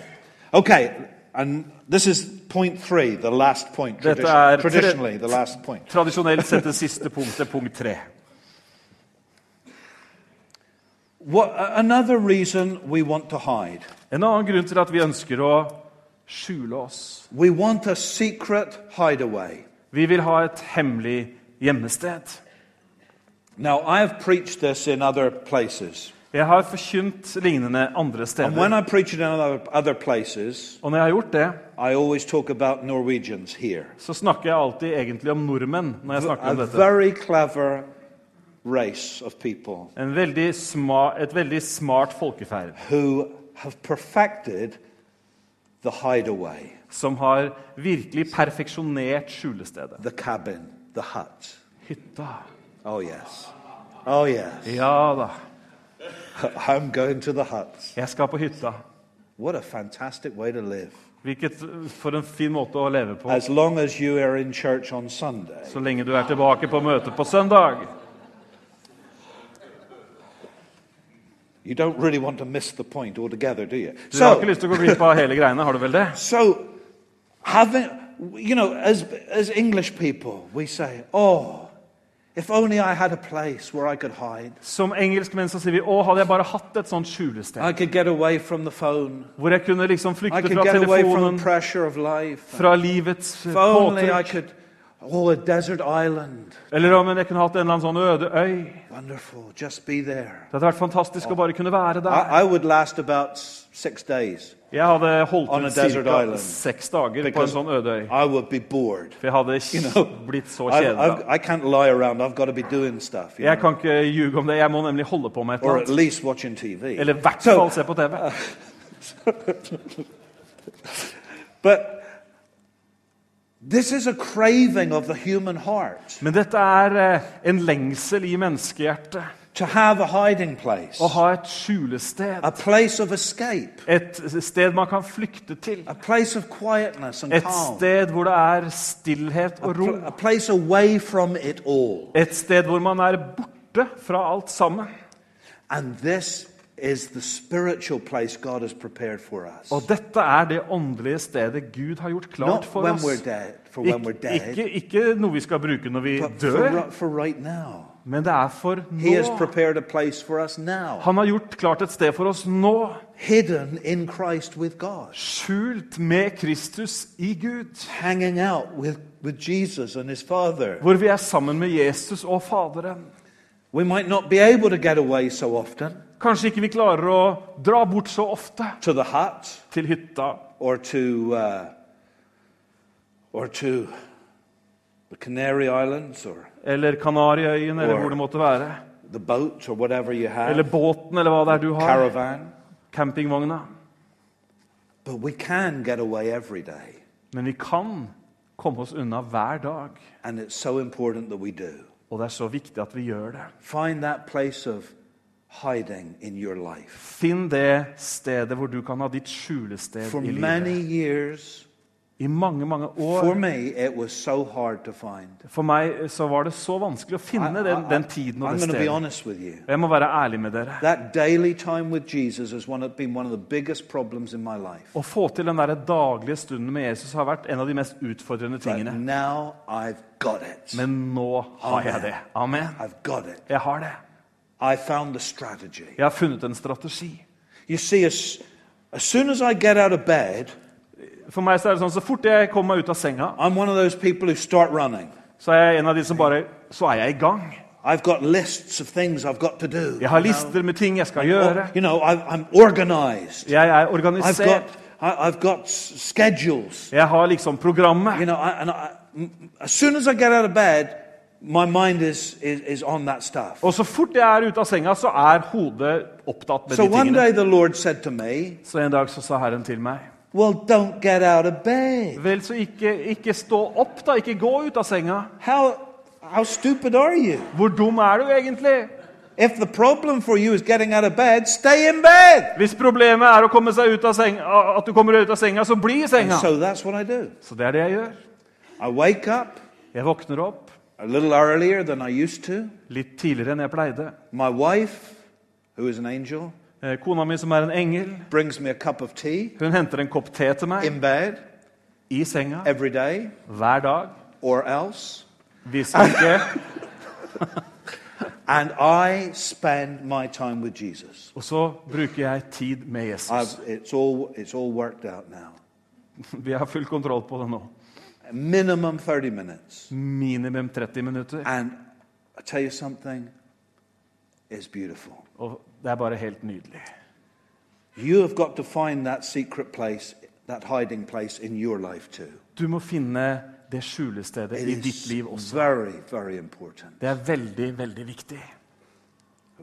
Speaker 3: Okay, And this is point three, the last point.
Speaker 4: Dette
Speaker 3: tradition-
Speaker 4: er tre-
Speaker 3: traditionally, the last point.
Speaker 4: Tradisjonelt sett det siste punktet, punkt tre.
Speaker 3: What, another reason we want to hide.
Speaker 4: En annen grunn til at vi ønsker å skjule oss.
Speaker 3: We want a secret hideaway.
Speaker 4: Vi vil ha et hemmelig gjemmested.
Speaker 3: Now, I have preached this in other places.
Speaker 4: Jeg har forkynt lignende andre
Speaker 3: And when
Speaker 4: steder.
Speaker 3: I preach it in other, other places,
Speaker 4: Og når jeg har gjort det,
Speaker 3: I always talk about Norwegians here.
Speaker 4: så snakker jeg alltid egentlig om nordmenn. når jeg snakker
Speaker 3: A
Speaker 4: om dette.
Speaker 3: very clever race of people
Speaker 4: En veldig sma, et veldig smart folkeferd
Speaker 3: who have perfected the hideaway,
Speaker 4: som har virkelig perfeksjonert skjulestedet.
Speaker 3: the cabin, the hut.
Speaker 4: Hytta.
Speaker 3: Oh, yes. Oh, yes.
Speaker 4: Ja da.
Speaker 3: I'm going to the hut.
Speaker 4: Jeg skal på hytta.
Speaker 3: What a fantastic way to live.
Speaker 4: Hvilket for en fin måte å leve på.
Speaker 3: As long as you are in church on Sunday.
Speaker 4: Så lenge du er tilbake på møtet på søndag.
Speaker 3: You don't really want to miss the point altogether, do you?
Speaker 4: Du har ikke lyst til å gå glipp av hele greiene, har du vel det?
Speaker 3: so having, you know, as, as English people, we say, oh, if only I had a place where I could hide.
Speaker 4: Som engelskmenn så sier vi 'Å, hadde jeg bare hatt et sånt skjulested',
Speaker 3: I could get away from the phone.
Speaker 4: hvor jeg kunne liksom
Speaker 3: I
Speaker 4: flykte
Speaker 3: could
Speaker 4: fra
Speaker 3: get away from
Speaker 4: telefonen,
Speaker 3: the pressure of life.
Speaker 4: fra livets eh,
Speaker 3: If only I
Speaker 4: påtrykk,
Speaker 3: could, oh, a desert island.
Speaker 4: eller om jeg kunne hatt en eller annen sånn øde øy.
Speaker 3: Wonderful, just be there.
Speaker 4: Det hadde vært fantastisk å bare kunne være
Speaker 3: I,
Speaker 4: der.
Speaker 3: I would last about s- six days
Speaker 4: Jeg hadde holdt
Speaker 3: On a
Speaker 4: ut
Speaker 3: desert
Speaker 4: ca.
Speaker 3: island.
Speaker 4: seks dager på en
Speaker 3: because
Speaker 4: sånn øde øy,
Speaker 3: I would be bored.
Speaker 4: for jeg hadde
Speaker 3: know,
Speaker 4: kj- blitt så
Speaker 3: I've, I've,
Speaker 4: kjedelig.
Speaker 3: I can't lie around. I've got to be doing stuff, you
Speaker 4: Jeg
Speaker 3: know,
Speaker 4: kan ikke ljuge om det. Jeg må nemlig holde på med et
Speaker 3: or
Speaker 4: eller
Speaker 3: at
Speaker 4: annet.
Speaker 3: least watching TV.
Speaker 4: Eller i hvert
Speaker 3: So-
Speaker 4: fall se på TV.
Speaker 3: But this is a craving of the human heart
Speaker 4: Men dette er eh, en lengsel i menneskehjertet.
Speaker 3: to have a hiding place,
Speaker 4: Å ha et skjulested.
Speaker 3: a place of escape,
Speaker 4: Et sted man kan flykte til.
Speaker 3: a place of quietness and
Speaker 4: Et
Speaker 3: calm,
Speaker 4: sted hvor det er stillhet
Speaker 3: a,
Speaker 4: og ro.
Speaker 3: pl- a place away from it all.
Speaker 4: Et sted hvor man er borte fra alt sammen.
Speaker 3: And this is the spiritual place God has prepared for us.
Speaker 4: Og dette er det åndelige stedet Gud har gjort klart
Speaker 3: Not
Speaker 4: for
Speaker 3: when
Speaker 4: oss.
Speaker 3: we're dead, for when we're
Speaker 4: Ik
Speaker 3: dead,
Speaker 4: ikke, ikke noe vi skal bruke når vi
Speaker 3: but for,
Speaker 4: dør,
Speaker 3: ri- for right now.
Speaker 4: men det er for
Speaker 3: He has
Speaker 4: nå.
Speaker 3: prepared a place for us now,
Speaker 4: Han har gjort klart et sted for oss nå.
Speaker 3: hidden in Christ with God.
Speaker 4: Skjult med Kristus i Gud.
Speaker 3: hanging out with, with Jesus and his Father.
Speaker 4: Hvor vi er sammen med Jesus og Faderen.
Speaker 3: We might not be able to get away so often
Speaker 4: Kanskje ikke vi klarer å dra bort så ofte
Speaker 3: to the hut
Speaker 4: til hytta
Speaker 3: or to, uh, or to the Canary Islands or
Speaker 4: eller Kanariøyene eller
Speaker 3: Or-
Speaker 4: hvor det måtte være.
Speaker 3: the boat or whatever you have,
Speaker 4: Eller båten eller hva det er du har.
Speaker 3: caravan.
Speaker 4: Campingvogna.
Speaker 3: But we can get away every day.
Speaker 4: Men vi kan komme oss unna hver dag,
Speaker 3: And it's so important that we do.
Speaker 4: og det er så viktig at vi gjør det.
Speaker 3: Find that place of hiding in your life.
Speaker 4: Finn det stedet hvor du kan ha ditt skjulested
Speaker 3: For
Speaker 4: i
Speaker 3: many
Speaker 4: livet.
Speaker 3: years,
Speaker 4: I mange, mange
Speaker 3: for
Speaker 4: år.
Speaker 3: me, it was so hard to find.
Speaker 4: For meg så var det så vanskelig å
Speaker 3: I-
Speaker 4: finne
Speaker 3: I-
Speaker 4: den, den
Speaker 3: I-
Speaker 4: tiden
Speaker 3: I'm
Speaker 4: og
Speaker 3: going
Speaker 4: det
Speaker 3: to be
Speaker 4: stedet.
Speaker 3: honest with you.
Speaker 4: Og jeg må være ærlig med dere.
Speaker 3: That daily time with Jesus has one, been one of the biggest problems in my life.
Speaker 4: Å få til den der daglige stunden med Jesus har vært en av de mest utfordrende
Speaker 3: But
Speaker 4: tingene.
Speaker 3: now I've got it.
Speaker 4: Men nå har jeg det. Amen.
Speaker 3: I've got it.
Speaker 4: Jeg har det.
Speaker 3: I found the strategy.
Speaker 4: Jeg har funnet en strategi.
Speaker 3: You see, as, as soon as I get out of bed,
Speaker 4: For meg så er det sånn, så fort jeg kommer meg ut av senga,
Speaker 3: I'm one of those people who start running.
Speaker 4: så er jeg en av de som bare Så er jeg i gang.
Speaker 3: I've got lists of things I've got to do.
Speaker 4: Jeg har lister med ting jeg skal gjøre.
Speaker 3: Or, you know, I've, I'm organized.
Speaker 4: Jeg er
Speaker 3: I've got,
Speaker 4: organisert.
Speaker 3: I, I've got s- schedules.
Speaker 4: Jeg har liksom
Speaker 3: You
Speaker 4: programmet.
Speaker 3: know, I, and I, m- as soon as I get out of bed, my mind is, is, is on that stuff.
Speaker 4: Og så fort jeg er ute av senga, så er hodet opptatt med
Speaker 3: So
Speaker 4: de
Speaker 3: one
Speaker 4: tingene.
Speaker 3: day the Lord said to me,
Speaker 4: Så en dag så sa Herren til meg
Speaker 3: Well, don't get out of bed.
Speaker 4: Vel, så ikke, ikke stå opp, da. Ikke gå ut av senga.
Speaker 3: How, how stupid are you?
Speaker 4: Hvor dum er du egentlig?
Speaker 3: If the problem for you is getting out of bed, stay in bed.
Speaker 4: Hvis problemet er å komme seg ut av senga, at du kommer deg ut av senga, så bli i
Speaker 3: And
Speaker 4: senga.
Speaker 3: so that's what I do.
Speaker 4: Så det er det jeg gjør.
Speaker 3: I wake up
Speaker 4: Jeg våkner opp
Speaker 3: a little earlier than I used to.
Speaker 4: litt tidligere enn jeg pleide.
Speaker 3: My wife, who is an angel,
Speaker 4: Eh, Kona mi, som er en engel,
Speaker 3: brings me a cup of tea
Speaker 4: hun henter en kopp te til meg
Speaker 3: in bed
Speaker 4: i senga
Speaker 3: every day,
Speaker 4: hver dag.
Speaker 3: or else.
Speaker 4: Hvis ikke
Speaker 3: And I spend my time with Jesus.
Speaker 4: Og så bruker jeg tid med Jesus.
Speaker 3: I've, it's, all, it's all worked out now.
Speaker 4: Vi har full kontroll på det nå.
Speaker 3: Minimum 30 minutes.
Speaker 4: Minimum 30 minutter.
Speaker 3: And I tell you something, it's beautiful.
Speaker 4: Og det er bare helt nydelig.
Speaker 3: You have got to find that secret place, that hiding place in your life too.
Speaker 4: Du må finne det skjulestedet
Speaker 3: It
Speaker 4: i ditt liv
Speaker 3: is
Speaker 4: også.
Speaker 3: very, very important.
Speaker 4: Det er veldig, veldig viktig.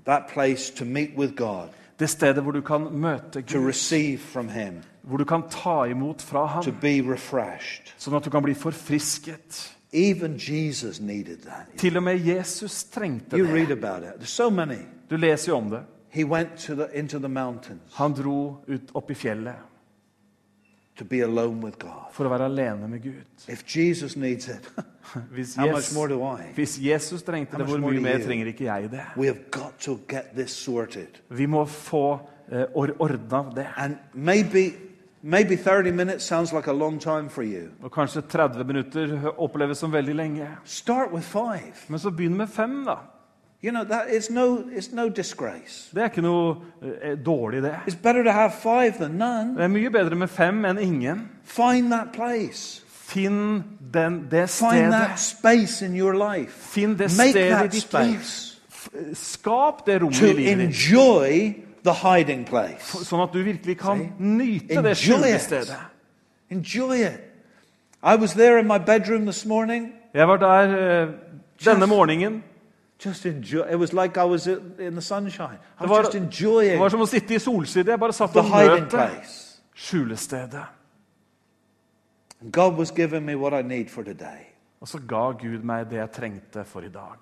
Speaker 3: That place to meet with God,
Speaker 4: Det stedet hvor du kan møte
Speaker 3: to
Speaker 4: Gud,
Speaker 3: receive from Him,
Speaker 4: hvor du kan ta imot fra
Speaker 3: to
Speaker 4: Ham,
Speaker 3: be refreshed.
Speaker 4: sånn at du kan bli forfrisket.
Speaker 3: Even Jesus needed that.
Speaker 4: Til og med Jesus trengte
Speaker 3: You
Speaker 4: det.
Speaker 3: read about it. There's so many.
Speaker 4: Du leser jo om det.
Speaker 3: He went to the, into the mountains
Speaker 4: Han dro ut opp i fjellet
Speaker 3: to be alone with God.
Speaker 4: for å være alene med Gud.
Speaker 3: If Jesus needs it,
Speaker 4: Hvis,
Speaker 3: How
Speaker 4: Jes-
Speaker 3: much more do I?
Speaker 4: hvis Jesus trengte
Speaker 3: How
Speaker 4: det,
Speaker 3: much
Speaker 4: hvor
Speaker 3: more
Speaker 4: mye
Speaker 3: do
Speaker 4: mer
Speaker 3: you?
Speaker 4: trenger ikke jeg det?
Speaker 3: we have got to get this sorted.
Speaker 4: Vi må få eh, or- ordna det.
Speaker 3: And maybe, maybe 30 minutes sounds like a long time for you.
Speaker 4: Og kanskje 30 minutter hø- oppleves som veldig lenge.
Speaker 3: Start with five.
Speaker 4: Men så begynn med fem, da.
Speaker 3: You know, that is no, it's no disgrace.
Speaker 4: Det er ikke noe eh, dårlig, det.
Speaker 3: It's better to have five than none.
Speaker 4: Det er mye bedre med fem enn ingen.
Speaker 3: Find that place.
Speaker 4: Finn den, det
Speaker 3: Find that
Speaker 4: stedet.
Speaker 3: space in your life.
Speaker 4: Finn det
Speaker 3: Make
Speaker 4: stedet i
Speaker 3: that
Speaker 4: ditt liv.
Speaker 3: space
Speaker 4: F- Skap det rommet i
Speaker 3: to
Speaker 4: livet ditt,
Speaker 3: enjoy the hiding place.
Speaker 4: sånn at du virkelig kan
Speaker 3: See?
Speaker 4: nyte det
Speaker 3: Enjoy
Speaker 4: skjulte
Speaker 3: it.
Speaker 4: stedet.
Speaker 3: Enjoy it. I was there in my bedroom this morning.
Speaker 4: Jeg var der eh, denne
Speaker 3: Just-
Speaker 4: morgenen.
Speaker 3: Just enjoy. It was like I was in the sunshine. I was
Speaker 4: Det var,
Speaker 3: just
Speaker 4: det
Speaker 3: enjoying
Speaker 4: var som å sitte i solside. Jeg bare satt
Speaker 3: the
Speaker 4: og
Speaker 3: hiding
Speaker 4: nøt det.
Speaker 3: place.
Speaker 4: Skjulestedet.
Speaker 3: And God was giving me what I need for today.
Speaker 4: Og så ga Gud meg det jeg trengte for i dag.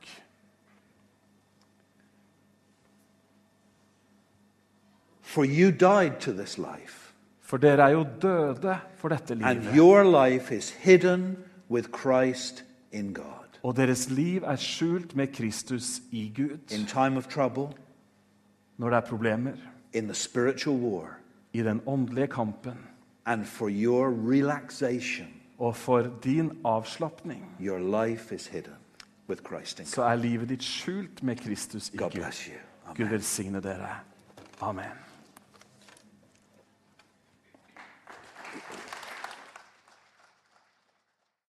Speaker 3: For you died to this life,
Speaker 4: For dere er jo døde for dette
Speaker 3: and
Speaker 4: livet.
Speaker 3: your life is hidden with Christ in God.
Speaker 4: Og deres liv er skjult med Kristus i Gud.
Speaker 3: In time of trouble,
Speaker 4: Når det er problemer,
Speaker 3: in the spiritual war,
Speaker 4: i den åndelige kampen,
Speaker 3: and for your relaxation,
Speaker 4: og for din avslapning,
Speaker 3: your life is hidden with Christ in God.
Speaker 4: så er livet ditt skjult med Kristus i
Speaker 3: God
Speaker 4: Gud.
Speaker 3: bless you. Amen.
Speaker 4: Gud velsigne dere. Amen.